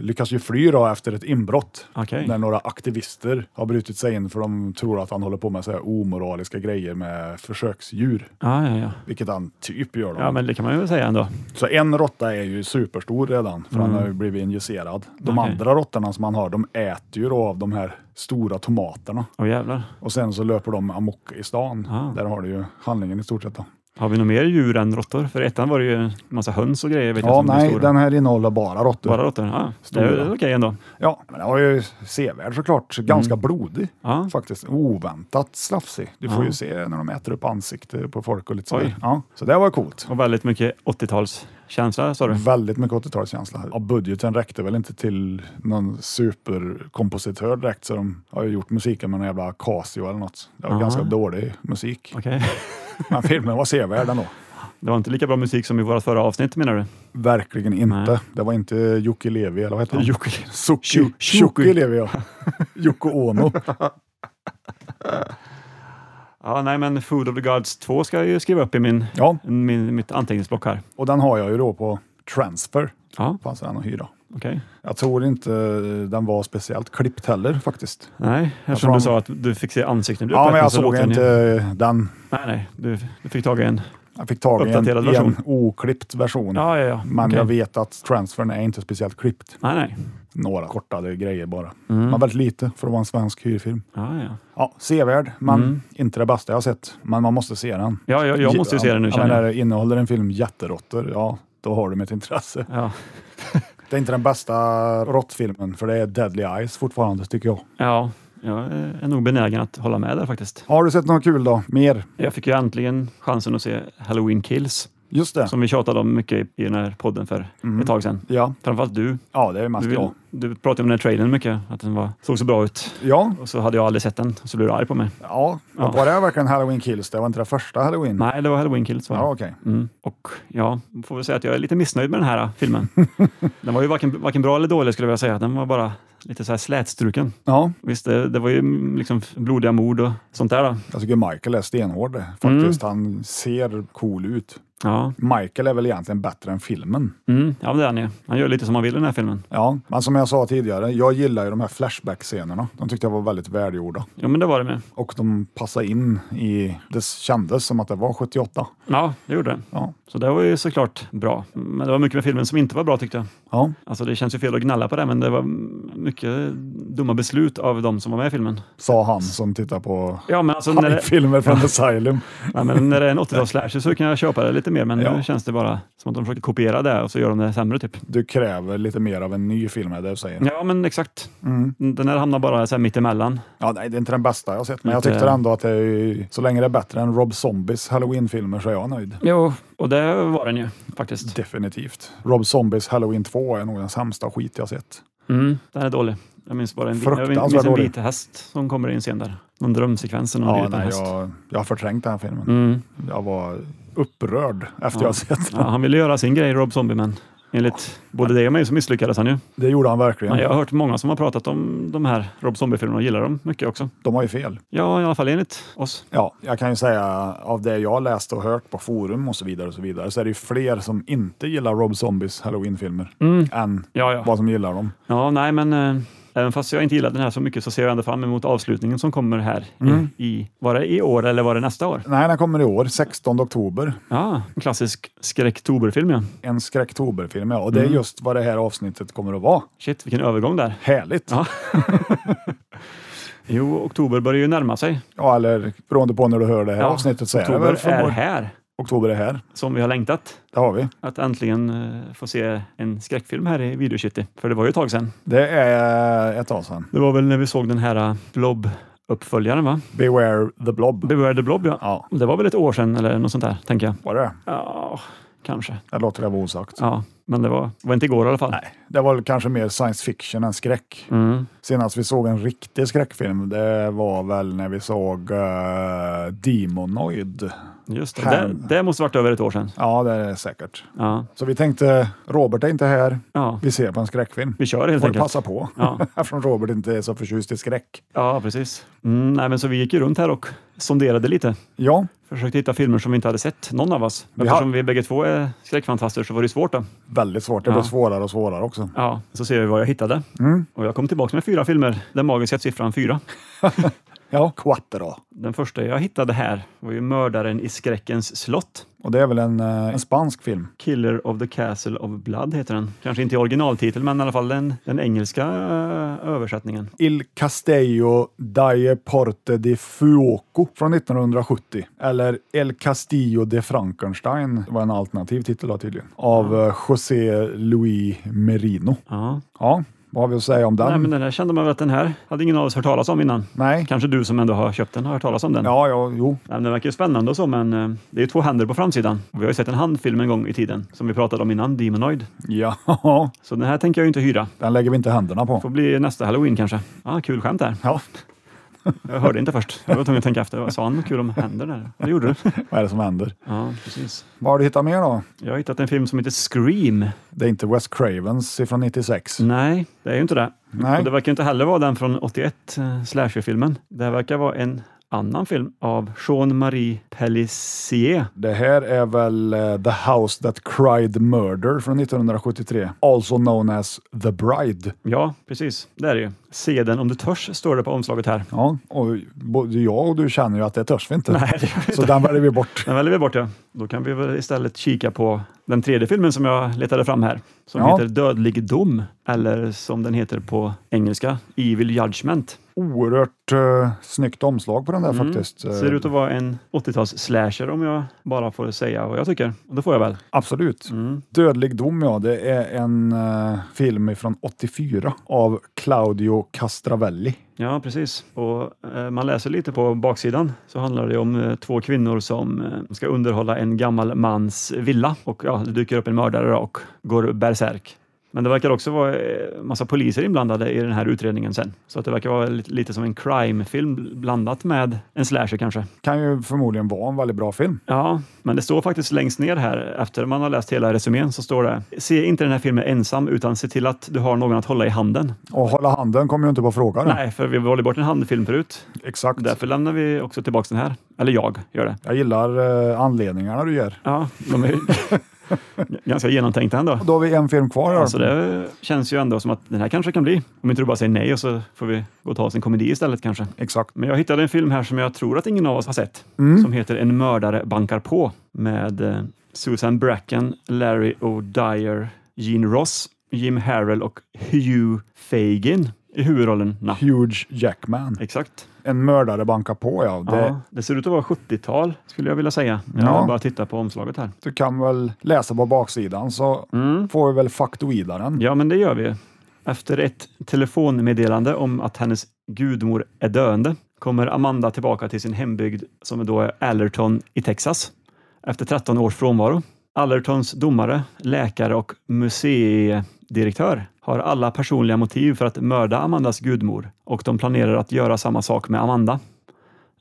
S2: lyckas ju fly då efter ett inbrott.
S3: Okej.
S2: När några aktivister har brutit sig in för de tror att han håller på med så här omoraliska grejer med försöksdjur.
S3: Ja, ja, ja.
S2: Vilket han typ gör då.
S3: ja, men det kan man ju väl säga ändå.
S2: Så en råtta är ju superstor redan, för han har ju blivit injicerad. De
S3: Mm. Okej.
S2: andra råttorna som han har, de äter ju då av de här stora tomaterna.
S3: Åh jävlar.
S2: Och sen så löper de amok i stan.
S3: Ah.
S2: Där har du ju handlingen i stort sett. Då.
S3: Har vi nog mer djur än råttor? För i ettan var det ju en massa höns och grejer. Vet jag,
S2: Ja,
S3: som är
S2: nej,
S3: stora.
S2: den här innehåller bara råttor.
S3: Bara råttor? Ja, det
S2: Stora.
S3: är väl okej ändå.
S2: Ja, men den var ju sevärd såklart.
S3: Mm.
S2: Ganska blodig
S3: Ja.
S2: faktiskt. Oväntat slafsig. Du får
S3: Ja.
S2: ju se när de äter upp ansikte på folk och lite
S3: Ah. Oj.
S2: sådär. Ja, så det var coolt.
S3: Och väldigt mycket 80-talskänsla sa du?
S2: Väldigt mycket 80-talskänsla. Ja, budgeten räckte väl inte till någon superkompositör direkt, så de har ju gjort musiken med en jävla Casio eller något. Det var
S3: Ja.
S2: ganska dålig musik,
S3: Okej. [LAUGHS]
S2: men filmen var sevärd ändå.
S3: Det var inte lika bra musik som i vårt förra avsnitt menar du?
S2: Verkligen inte.
S3: Nej.
S2: Det var inte Jocke Levi, eller vad heter han?
S3: Jocke.
S2: Suki.
S3: Tjo-
S2: Jocke
S3: Tjoki.
S2: Levi,
S3: [LAUGHS]
S2: ja. Jocke Ono.
S3: Ja, nej, men Food of the Gods 2 ska jag ju skriva upp i min,
S2: Ja,
S3: min, mitt anteckningsblock här.
S2: och den har jag ju då på transfer.
S3: Ja,
S2: Fanns den att hyra.
S3: okej.
S2: Jag tror inte den var speciellt klippt heller faktiskt.
S3: Nej, eftersom
S2: tror
S3: du
S2: han-
S3: sa att du fick se ansikten. Du
S2: Ja, men
S3: öppnade
S2: jag
S3: så
S2: såg
S3: låter den ju-
S2: inte den.
S3: Nej, nej, du, du fick tag i en.
S2: Jag fick tag i en,
S3: Uppdaterad
S2: i en
S3: version.
S2: oklippt version.
S3: Ja, ja, ja.
S2: Men
S3: Okej.
S2: jag vet att transfern är inte speciellt klippt.
S3: Nej, nej.
S2: Några kortade grejer bara.
S3: Mm.
S2: Men väldigt lite för att vara en svensk hyrfilm.
S3: Ja, ja.
S2: Ja, sevärd, men
S3: Mm.
S2: inte det bästa jag har sett. Men man måste se den.
S3: ja jag, jag måste ju se den nu
S2: ja, men
S3: känner
S2: när
S3: jag.
S2: det innehåller en film jätteråttor, ja, då har du mitt intresse.
S3: Ja,
S2: Det är inte den bästa råttfilmen, för det är Deadly Eyes fortfarande, tycker jag.
S3: ja, jag är nog benägen att hålla med där faktiskt.
S2: Har du sett något kul då? Mer?
S3: Jag fick ju äntligen chansen att se Halloween Kills
S2: Just det.
S3: som vi tjatade om mycket i den här podden för ett tag sedan.
S2: Ja.
S3: Framförallt du.
S2: Mm. ja, det är
S3: Du,
S2: mest
S3: vill,
S2: jag.
S3: du pratade om den här trailern mycket, att den var, såg så bra ut.
S2: Ja,
S3: Och så hade jag aldrig sett den, så blev du arg på mig.
S2: ja.
S3: Ja.
S2: var det verkligen Halloween Kills? Det var inte det första Halloween?
S3: Nej, det var Halloween Kills va?
S2: Ja, okej.
S3: Mm. Och ja, får väl säga att jag är lite missnöjd med den här äh,
S2: [LAUGHS]
S3: filmen. den var ju varken, varken bra eller dålig skulle jag vilja säga. Den var bara lite så här slätstruken.
S2: Ja,
S3: Visst, det, det var ju mm, liksom blodiga mord och sånt där. Då.
S2: jag tycker Michael är stenhård
S3: Mm.
S2: faktiskt. Han ser cool ut.
S3: Ja.
S2: Michael är väl egentligen bättre än filmen.
S3: Mm, ja, men det är han ju. Han gör lite som han vill i den här filmen.
S2: Ja, men som jag sa tidigare, jag gillar ju de här Flashback-scenerna. De tyckte jag var väldigt välgjorda
S3: Jo, men det var det med.
S2: och de passade in i... Det kändes som att det var 78.
S3: Ja, det gjorde det.
S2: Ja.
S3: Så det var ju såklart bra. Men det var mycket med filmen som inte var bra tyckte jag.
S2: Ja,
S3: Alltså det känns ju fel att gnälla på det, men det var mm, mycket dumma beslut av de som var med i filmen.
S2: sa han som tittar på
S3: Ja, men alltså när det,
S2: filmer från Asylum.
S3: nej, men när det är en 80-talsslasher så kan jag köpa det lite mer, men
S2: Ja.
S3: nu känns det bara som att de försöker kopiera det och så gör de det sämre typ.
S2: Du kräver lite mer av en ny film, är det du säger?
S3: Ja, men exakt.
S2: Mm.
S3: Den här hamnar bara så här mittemellan.
S2: Ja, nej, det är inte den bästa jag har sett, men jag
S3: Inte-
S2: tyckte ändå att det är, så länge det är bättre än Rob Zombies Halloween-filmer så är jag nöjd.
S3: Jo, och det var den ju faktiskt.
S2: Definitivt. Rob Zombies Halloween 2 är nog den sämsta skit jag sett.
S3: Mm, den är dålig. Jag minns bara en, jag
S2: Fruktansvärt
S3: minns en
S2: dålig.
S3: vit häst som kommer i en scen där. Någon drömsekvens. Någon
S2: Ja,
S3: gripen
S2: nej,
S3: häst.
S2: jag, jag har förträngt den här filmen.
S3: Mm.
S2: Jag var upprörd efter jag sett
S3: Ja,
S2: den.
S3: han ville göra sin grej, Rob Zombie, men Enligt både dig och mig så misslyckades han ju.
S2: Det gjorde han verkligen.
S3: Men jag har hört många som har pratat om de här Rob Zombie-filmerna och gillar dem mycket också.
S2: De har ju fel.
S3: Ja, i alla fall enligt oss.
S2: Ja, jag kan ju säga av det jag läst och hört på forum och så vidare och så vidare så är det ju fler som inte gillar Rob Zombies halloween-filmer
S3: Mm.
S2: än
S3: Ja, ja.
S2: vad som gillar dem.
S3: Ja, nej, men eh, även fast jag inte gillar den här så mycket så ser jag ändå fram emot avslutningen som kommer här
S2: Mm.
S3: i, i, var det i år eller var det nästa år?
S2: Nej, den kommer i år, 16 oktober.
S3: Ja, en klassisk skräcktoberfilm ja.
S2: En skräcktoberfilm, ja. Och det är
S3: Mm.
S2: just vad det här avsnittet kommer att vara.
S3: Shit, vilken övergång där.
S2: Härligt! Ja.
S3: Ja. jo, oktober börjar ju närma sig.
S2: eller beroende på när du hör det här avsnittet så är det
S3: oktober
S2: väl från
S3: är
S2: vår-
S3: här,
S2: Oktober är här.
S3: som vi har längtat.
S2: Det har vi.
S3: Att äntligen eh, få se en skräckfilm här i Videocity. För det var ju ett tag sedan.
S2: Det är ett tag sedan.
S3: Det var väl när vi såg den här eh, Blob-uppföljaren, va?
S2: Beware the Blob.
S3: Beware the Blob, ja.
S2: Ja,
S3: Det var väl ett år sedan eller något sånt där, tänker jag.
S2: var det?
S3: Ja, kanske.
S2: Jag låter det vara osagt.
S3: Ja, men det var, var inte igår i alla fall. Nej.
S2: Det var väl kanske mer science fiction än skräck.
S3: Mm.
S2: Senast vi såg en riktig skräckfilm, det var väl när vi såg eh, Demonoid.
S3: Just det.
S2: Här.
S3: det, det måste varit över ett år sedan.
S2: Ja, det är det säkert.
S3: Ja,
S2: Så vi tänkte, Robert är inte här,
S3: ja.
S2: vi ser på en skräckfilm.
S3: vi kör helt
S2: Får du
S3: enkelt.
S2: passa på,
S3: Ja.
S2: [LAUGHS] eftersom Robert inte är så förtjust i skräck.
S3: Ja, precis. Mm, nej, men så vi gick ju runt här och sonderade lite.
S2: Ja,
S3: Försökte hitta filmer som vi inte hade sett, någon av oss.
S2: har-
S3: Eftersom vi bägge två är skräckfantaster så var det ju svårt. Då.
S2: väldigt svårt. Det
S3: Ja.
S2: blir svårare och svårare också.
S3: Ja, så ser vi vad jag hittade.
S2: Mm.
S3: Och jag kom tillbaka med fyra filmer. Den magiska siffran fyra.
S2: Ja, Quattro.
S3: Den första jag hittade här var ju Mördaren i skräckens slott.
S2: Och det är väl en, eh, en spansk film.
S3: Killer of the Castle of Blood heter den. Kanske inte i originaltitel, men i alla fall den, den engelska eh, översättningen.
S2: Il Castello daje Porte di Fuoco från 1970. Eller El Castillo de Frankenstein, det var en alternativ titel då, tydligen. Av eh, José Luis Merino.
S3: Ja.
S2: Ja, vad har vi att säga om den?
S3: Nej, men den här kände man väl att den här hade ingen av oss hört talas om innan.
S2: Nej.
S3: Kanske du som ändå har köpt den har hört talas om den?
S2: Ja, ja, jo.
S3: Nej, men Den verkar ju spännande och så, men eh, det är ju två händer på framsidan. Och vi har ju sett en handfilm en gång i tiden, som vi pratade om innan, Demonoid.
S2: Ja, [LAUGHS]
S3: Så den här tänker jag ju inte hyra.
S2: den lägger vi inte händerna på.
S3: Får bli nästa halloween kanske. Ja, kul skämt där.
S2: Ja,
S3: Jag hörde inte först. Jag var tvungen att tänka efter. Vad Sa han något kul om händer där? Det gjorde
S2: [LAUGHS]
S3: du.
S2: vad är det som händer?
S3: Ja, precis.
S2: Vad har du hittat mer då?
S3: Jag har hittat en film som heter Scream.
S2: Det är inte Wes Cravens från 96.
S3: Nej, det är ju inte det.
S2: Nej.
S3: Och det verkar inte heller vara den från 81, eh, slasherfilmen. Det här verkar vara en annan film av Jean-Marie Pellissier.
S2: Det här är väl eh, The House That Cried Murder från 1973, also known as The Bride.
S3: Ja, precis. Det är det ju. Se den om du törs, står det på
S2: [LAUGHS]
S3: omslaget här.
S2: Ja, och både jag och du känner ju att det törs vi inte.
S3: Nej, det gör vi
S2: Så den väljer vi bort.
S3: Den väljer vi bort ja. Då kan vi väl istället kika på den tredje filmen som jag letade fram här. Som
S2: Ja.
S3: heter Dödlig dom, eller som den heter på engelska, Evil Judgment.
S2: Oerhört uh, snyggt omslag på den där faktiskt. Eh,
S3: Mm. Ser ut att vara en 80-tals-slasher om jag bara får säga vad jag tycker. Och det får jag väl.
S2: Absolut.
S3: Mm.
S2: Dödlig dom, ja. Det är en eh, film från 84 av Claudio Castravelli.
S3: Ja, precis. Och eh, man läser lite på baksidan så handlar det om eh, två kvinnor som eh, ska underhålla en gammal mans villa och ja, det dyker upp en mördare då och går bärsärk. Men det verkar också vara eh, massa poliser inblandade i den här utredningen sen. Så att det verkar vara lite, lite som en crime-film bl- blandat med en slasher kanske.
S2: Kan ju förmodligen vara en väldigt bra film.
S3: Ja, men det står faktiskt längst ner här efter man har läst hela resumén så står det Se inte den här filmen ensam utan se till att du har någon att hålla i handen.
S2: Och hålla handen kommer ju inte på frågan.
S3: Nej, för vi valde bort en handfilm förut.
S2: Exakt.
S3: Därför lämnar vi också tillbaka den här. Eller jag gör det.
S2: Jag gillar eh, anledningarna du ger.
S3: Ja, de är [LAUGHS] ganska genomtänkta ändå.
S2: Då har vi en film kvar. här.
S3: Så Alltså det känns ju ändå som att den här kanske kan bli. Om inte du bara säger nej och så får vi gå och ta oss en komedi istället kanske.
S2: Exakt.
S3: Men jag hittade en film här som jag tror att ingen av oss har sett. Som heter En mördare bankar på med eh, Susan Bracken, Larry O'Dyer, Gene Ross, Jim Harrell och Hugh Fagin i huvudrollerna.
S2: Huge Jackman.
S3: Exakt.
S2: En mördare bankar på, ja. Det,
S3: Ja, det ser ut att vara 70-tal skulle jag vilja säga. Jag
S2: Ja.
S3: bara titta på omslaget här.
S2: Du kan väl läsa på baksidan så
S3: Mm.
S2: får vi väl faktoida den.
S3: Ja, men det gör vi. Efter ett telefonmeddelande om att hennes gudmor är döende kommer Amanda tillbaka till sin hembygd som då är Allerton i Texas efter 13 års frånvaro. Allertons domare, läkare och museidirektör har alla personliga motiv för att mörda Amandas gudmor och de planerar att göra samma sak med Amanda.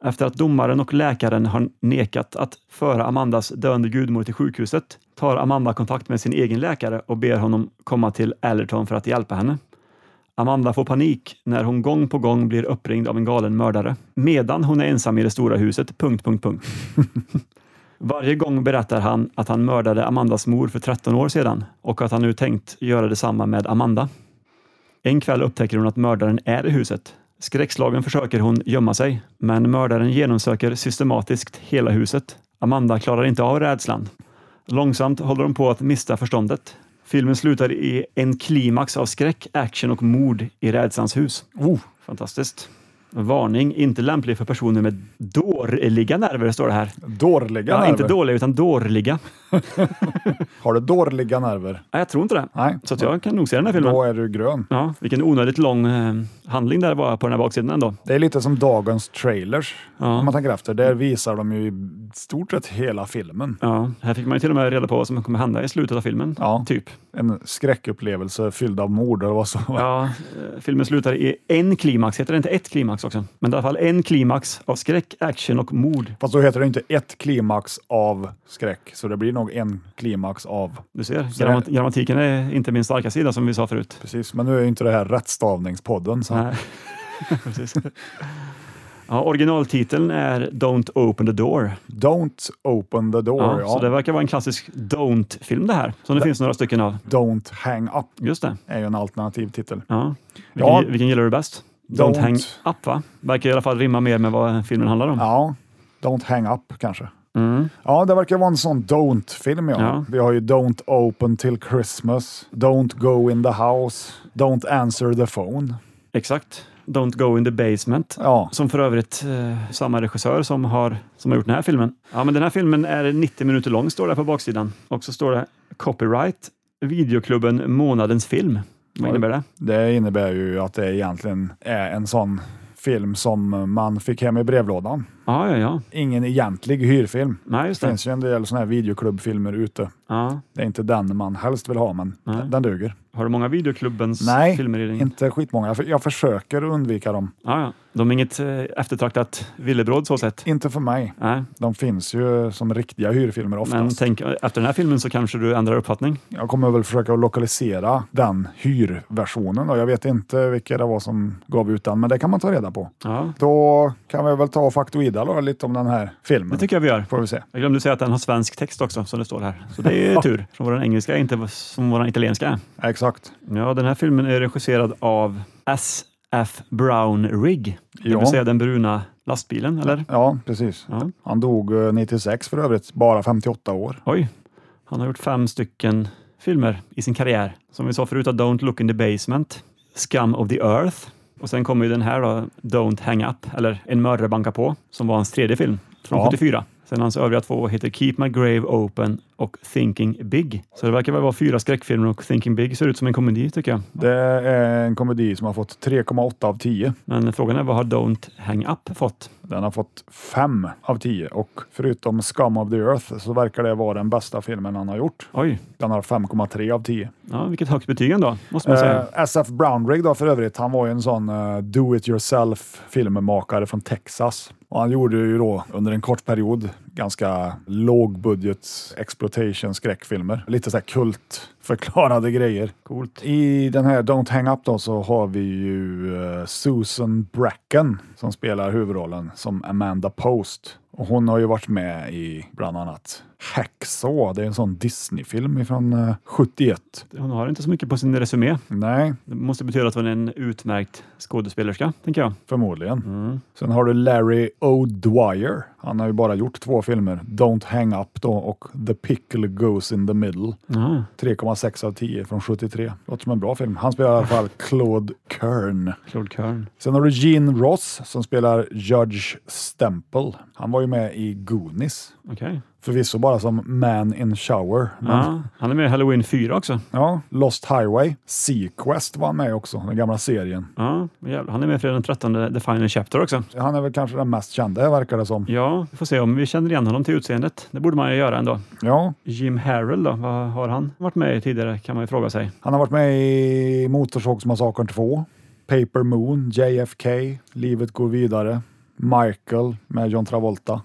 S3: Efter att domaren och läkaren har nekat att föra Amandas döende gudmor till sjukhuset tar Amanda kontakt med sin egen läkare och ber honom komma till Allerton för att hjälpa henne. Amanda får panik när hon gång på gång blir uppringd av en galen mördare medan hon är ensam i det stora huset. Punkt, punkt, punkt. [LAUGHS] Varje gång berättar han att han mördade Amandas mor för 13 år sedan och att han nu tänkt göra detsamma med Amanda. En kväll upptäcker hon att mördaren är i huset. Skräckslagen försöker hon gömma sig, men mördaren genomsöker systematiskt hela huset. Amanda klarar inte av rädslan. Långsamt håller hon på att mista förståndet. Filmen slutar i en klimax av skräck, action och mord i rädslans hus.
S2: Oh,
S3: Fantastiskt. Varning, inte lämplig för personer med dårliga nerver, står det här.
S2: dårliga
S3: Ja,
S2: nerver.
S3: inte dåliga, utan dårliga.
S2: Har du dårliga nerver?
S3: Nej, jag tror inte det.
S2: Nej,
S3: Så att jag kan nog se den här filmen.
S2: då är du grön.
S3: Ja, vilken onödigt lång eh, handling där var på den här baksidan ändå.
S2: Det är lite som dagens trailers,
S3: Ja.
S2: om man tänker efter. Där visar de ju i stort sett hela filmen.
S3: Ja, här fick man ju till och med reda på vad som kommer hända i slutet av filmen.
S2: Ja.
S3: Typ.
S2: En skräckupplevelse fylld av mord och vad så.
S3: Ja, eh, filmen slutar i en klimax, heter det inte ett klimax också? Men i alla fall en klimax av skräck, action och mord.
S2: Fast då heter det inte ett klimax av skräck, så det blir nog en klimax av.
S3: Du ser,
S2: Så det här-
S3: grammat- grammatiken är inte min starka sida som vi sa förut.
S2: Precis, men nu är inte det här rättstavningspodden. Så.
S3: Nej.
S2: [LAUGHS]
S3: Precis. Ja, originaltiteln är Don't open the door.
S2: Don't open the door.
S3: Ja,
S2: Ja,
S3: Så det verkar vara en klassisk Don't-film det här, som det finns några stycken av.
S2: Don't hang up
S3: Just det.
S2: är ju en alternativ titel.
S3: Ja. Vilken,
S2: Ja.
S3: vilken gillar du bäst? Don't,
S2: Don't.
S3: hang up, va? Verkar i alla fall rimma mer med vad filmen handlar om.
S2: Ja, Don't hang up kanske.
S3: Mm.
S2: Ja, det verkar vara en sån don't-film. Ja.
S3: Ja.
S2: Vi har ju Don't open till Christmas, Don't go in the house, Don't answer the phone.
S3: Exakt. Don't go in the basement.
S2: Ja,
S3: Som för övrigt eh, samma regissör som har, som har gjort den här filmen. Ja, men den här filmen är 90 minuter lång, står det på baksidan. Och så står det Copyright, Videoklubben Månadens film. Vad innebär det?
S2: det innebär ju att det egentligen är en sån film som man fick hem i brevlådan.
S3: Ja, ja, ja.
S2: Ingen egentlig hyrfilm.
S3: Nej, just
S2: Det
S3: det.
S2: finns ju en del såna här videoklubbfilmer ute.
S3: Ja.
S2: Det är inte den man helst vill ha, men
S3: Nej.
S2: den duger.
S3: Har du många Videoklubbens
S2: Nej,
S3: filmer i din?
S2: Inte skitmånga. Jag, för- jag försöker undvika dem.
S3: Ja, ja. De är inget eh, eftertraktat villebråd så sett.
S2: Inte för mig.
S3: Nej,
S2: De finns ju som riktiga hyrfilmer
S3: men
S2: oftast.
S3: tänk, efter den här filmen så kanske du ändrar uppfattning.
S2: Jag kommer väl försöka att lokalisera den hyrversionen. Då. Jag vet inte vilka det var som gav ut den, men det kan man ta reda på.
S3: Ja,
S2: Då kan vi väl ta och faktoida då, lite om den här
S3: det
S2: filmen.
S3: tycker jag vi gör.
S2: Får vi se.
S3: Jag glömde säga att den har svensk text också, som det står här. Så det är ju tur, som vår engelska är inte som vår italienska är.
S2: Exakt.
S3: Ja, den här filmen är regisserad av S.F. Brown Rigg, det
S2: Ja.
S3: vill säga den bruna lastbilen, eller?
S2: Ja, precis.
S3: Ja.
S2: Han dog eh, 96 för övrigt, bara 58 år.
S3: Oj, han har gjort fem stycken filmer i sin karriär. Som vi sa förut, Don't look in the basement, Scum of the Earth och sen kommer ju den här då, Don't hang up, eller En mördare bankar på, som var hans tredje film från
S2: Ja.
S3: 74. Sen hans övriga två heter Keep My Grave Open och Thinking Big. Så det verkar väl vara fyra skräckfilmer och Thinking Big ser ut som en komedi tycker jag.
S2: Det är en komedi som har fått 3,8 av 10.
S3: Men frågan är vad har Don't hang up fått?
S2: Den har fått 5 av 10 och förutom Scum of the Earth så verkar det vara den bästa filmen han har gjort.
S3: Oj,
S2: Den har 5,3 av 10.
S3: ja, vilket högt betyg ändå, måste man säga.
S2: Eh, SF Brownrigg då för övrigt, han var ju en sån eh, do it yourself filmmakare från Texas. Och han gjorde ju då under en kort period ganska lågbudget exploitation skräckfilmer. Lite så här kultförklarade grejer.
S3: Coolt.
S2: I den här Don't Hang Up då så har vi ju eh, Susan Bracken som spelar huvudrollen som Amanda Post. Och hon har ju varit med i bland annat Hacksaw, det är en sån Disney-film ifrån eh, 71.
S3: Hon har inte så mycket på sin resumé.
S2: Nej,
S3: Det måste betyda att hon är en utmärkt skådespelerska, tänker jag.
S2: förmodligen. Sen har du Larry O'Dwyer. Han har ju bara gjort två filmer, Don't Hang Up då och The Pickle Goes in the Middle.
S3: Ja,
S2: 3,6 av 10 från 73. Låter som en bra film. Han spelar i alla fall Claude Kern.
S3: Claude Kern.
S2: Sen har du Gene Ross som spelar Judge Stemple. Han var ju med i Goonies.
S3: Okej.
S2: Förvisso bara som Man in Shower. Men, ja.
S3: Ja, han är med i Halloween 4 också.
S2: Lost Highway. Sequest var han med också, den gamla serien.
S3: Ja, men jävlar, han är med i Fredag den 13, The Final Chapter också.
S2: Han är väl kanske den mest kända verkar det som.
S3: Ja, vi får se om vi känner igen honom till utseendet. Det borde man ju göra ändå.
S2: Ja,
S3: Jim Harrell då, vad har han varit med i tidigare kan man ju fråga sig.
S2: han har varit med i Motorsågsmassakern 2, Paper Moon, JFK, Livet går vidare, Michael med John Travolta.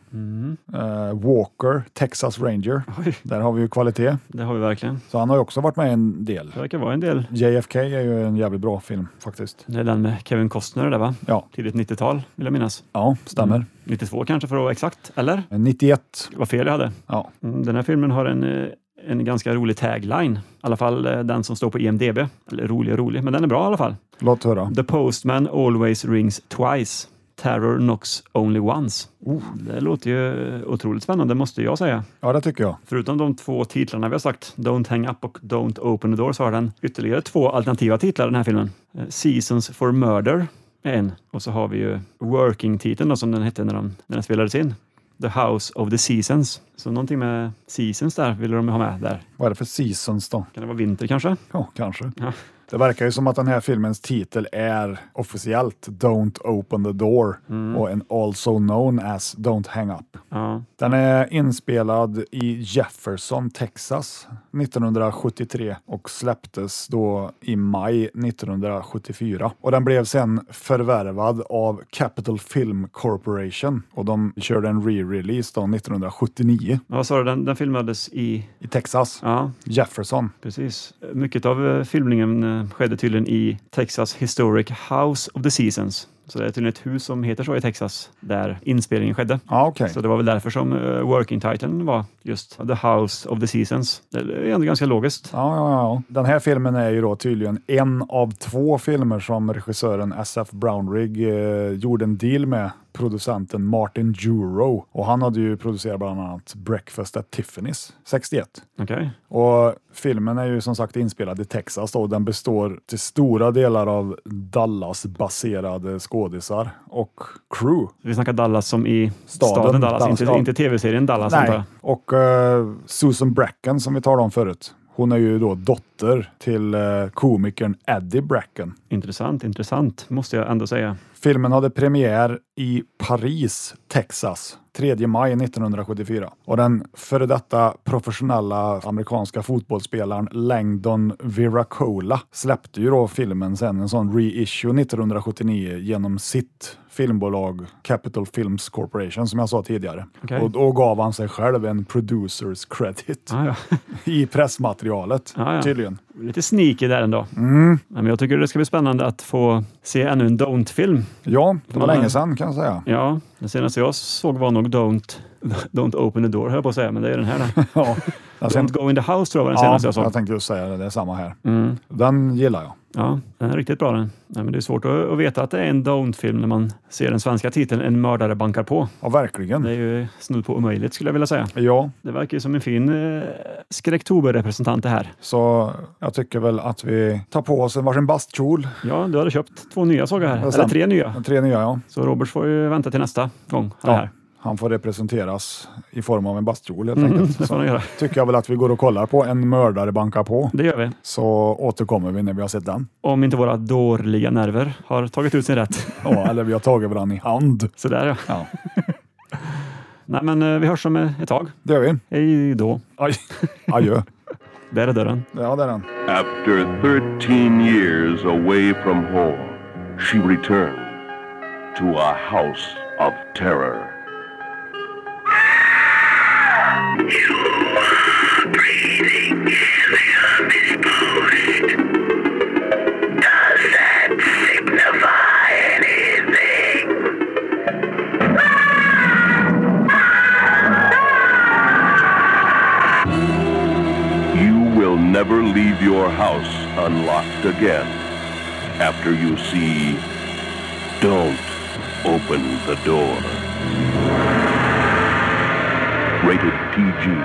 S2: Eh, Walker, Texas Ranger.
S3: Oj,
S2: Där har vi ju kvalitet.
S3: det har vi verkligen.
S2: Så han har ju också varit med i en del.
S3: Det verkar vara en del.
S2: JFK är ju en jävligt bra film faktiskt.
S3: Det är den med Kevin Costner där va?
S2: Ja,
S3: Tidigt 90-tal vill jag minnas.
S2: ja stämmer.
S3: 92 kanske för att vara exakt, eller?
S2: 91.
S3: Vad fel jag hade.
S2: Ja.
S3: Mm, Den här filmen har en, eh, en ganska rolig tagline. I alla fall eh, den som står på IMDB. Eller rolig och rolig, men den är bra i alla fall.
S2: Låt höra.
S3: The postman always rings twice. Terror knocks only once. Det låter ju otroligt spännande, måste jag säga.
S2: Ja, det tycker jag.
S3: Förutom de två titlarna vi har sagt, Don't hang up och Don't open the door, så har den ytterligare två alternativa titlar den här filmen. Eh, Seasons for murder är en och så har vi ju Working-titeln då, som den hette när, de, när den spelades in. The House of the Seasons. Så någonting med Seasons där ville de ha med där.
S2: Vad är det för seasons då?
S3: Kan det vara vinter kanske?
S2: Ja, kanske.
S3: Ja.
S2: Det verkar ju som att den här filmens titel är officiellt Don't open the door
S3: Mm.
S2: och en also known as Don't hang up.
S3: Ja.
S2: Den är inspelad i Jefferson, Texas 1973 och släpptes då i maj 1974. Och den blev sen förvärvad av Capital Film Corporation och de körde en re-release då 1979
S3: Men vad sa du, den, den filmades i...
S2: i Texas.
S3: Ja,
S2: Jefferson.
S3: Precis. Mycket av eh, filmningen eh, skedde tydligen i Texas Historic House of the Seasons. Så det är tydligen ett hus som heter så i Texas, där inspelningen skedde.
S2: Ja, okej.
S3: Så det var väl därför som eh, working titeln var just The House of the Seasons. Det är ändå ganska logiskt.
S2: Ja, ja, ja. Den här filmen är ju då tydligen en av två filmer som regissören SF Brownrigg eh, gjorde en deal med producenten Martin Juro och han hade ju producerat bland annat Breakfast at Tiffany's 61.
S3: Okej.
S2: Och filmen är ju som sagt inspelad i Texas då, och den består till stora delar av Dallas-baserade skådisar och crew.
S3: Vi snackar Dallas som i
S2: Staden.
S3: staden, Dallas,
S2: Dallas,
S3: inte,
S2: ja.
S3: inte tv-serien Dallas antar jag.
S2: Nej, och eh, Susan Bracken som vi talade om förut. Hon är ju då dotter till eh, komikern Eddie Bracken.
S3: Intressant, intressant måste jag ändå säga.
S2: Filmen hade premiär i Paris, Texas, 3 maj 1974. Och den före detta professionella amerikanska fotbollsspelaren Langdon Viracola släppte ju då filmen sen, en sån reissue 1979 genom sitt filmbolag Capital Films Corporation som jag sa tidigare.
S3: Okej.
S2: Och då gav han sig själv en producers credit
S3: Ah, ja. [LAUGHS]
S2: i pressmaterialet
S3: Ja, ja.
S2: tydligen.
S3: Lite sneaky där ändå. Men jag tycker det ska bli spännande att få se ännu en Don't-film.
S2: Ja, det var
S3: Mm.
S2: länge sedan kan jag säga.
S3: Ja, den senaste jag såg var nog Don't, [LAUGHS] don't open the door, höll jag på att säga, men det är den här. då.
S2: Ja. Jag ser-
S3: Don't go in the house tror jag var den senaste jag såg.
S2: tänkte just säga det. Det är samma här.
S3: Mm.
S2: Den gillar jag.
S3: Ja, den är riktigt bra den. Nej, men det är svårt att, att veta att det är en Don't-film när man ser den svenska titeln En mördare bankar på.
S2: Ja, verkligen.
S3: Det är ju snudd på omöjligt skulle jag vilja säga.
S2: Ja,
S3: Det verkar ju som en fin eh, skräcktober-representant det här.
S2: så jag tycker väl att vi tar på oss en varsin bastkjol.
S3: Ja, du hade köpt två nya såg jag här,
S2: är
S3: eller
S2: sant.
S3: tre nya.
S2: De tre nya, ja.
S3: Så Robert får ju vänta till nästa gång han är
S2: ja.
S3: här.
S2: Han får representeras i form av en bastkjol helt enkelt.
S3: Det får
S2: Så
S3: han göra.
S2: tycker jag väl att vi går och kollar på En mördare bankar på.
S3: Det gör vi.
S2: Så återkommer vi när vi har sett den.
S3: Om inte våra dårliga nerver har tagit ut sin rätt. [LAUGHS]
S2: Ja, eller vi har tagit varandra i hand.
S3: Sådär ja.
S2: Ja,
S3: [LAUGHS] Nej, men eh, vi hörs om eh, ett tag.
S2: det gör vi.
S3: Hej då.
S2: Aj. [LAUGHS] Adjö.
S3: Där är dörren.
S2: Ja, det är den.
S4: After 13 years away from home, she returned to a house of terror. You will never leave your house unlocked again after you see Don't Open the Door. Rated PG.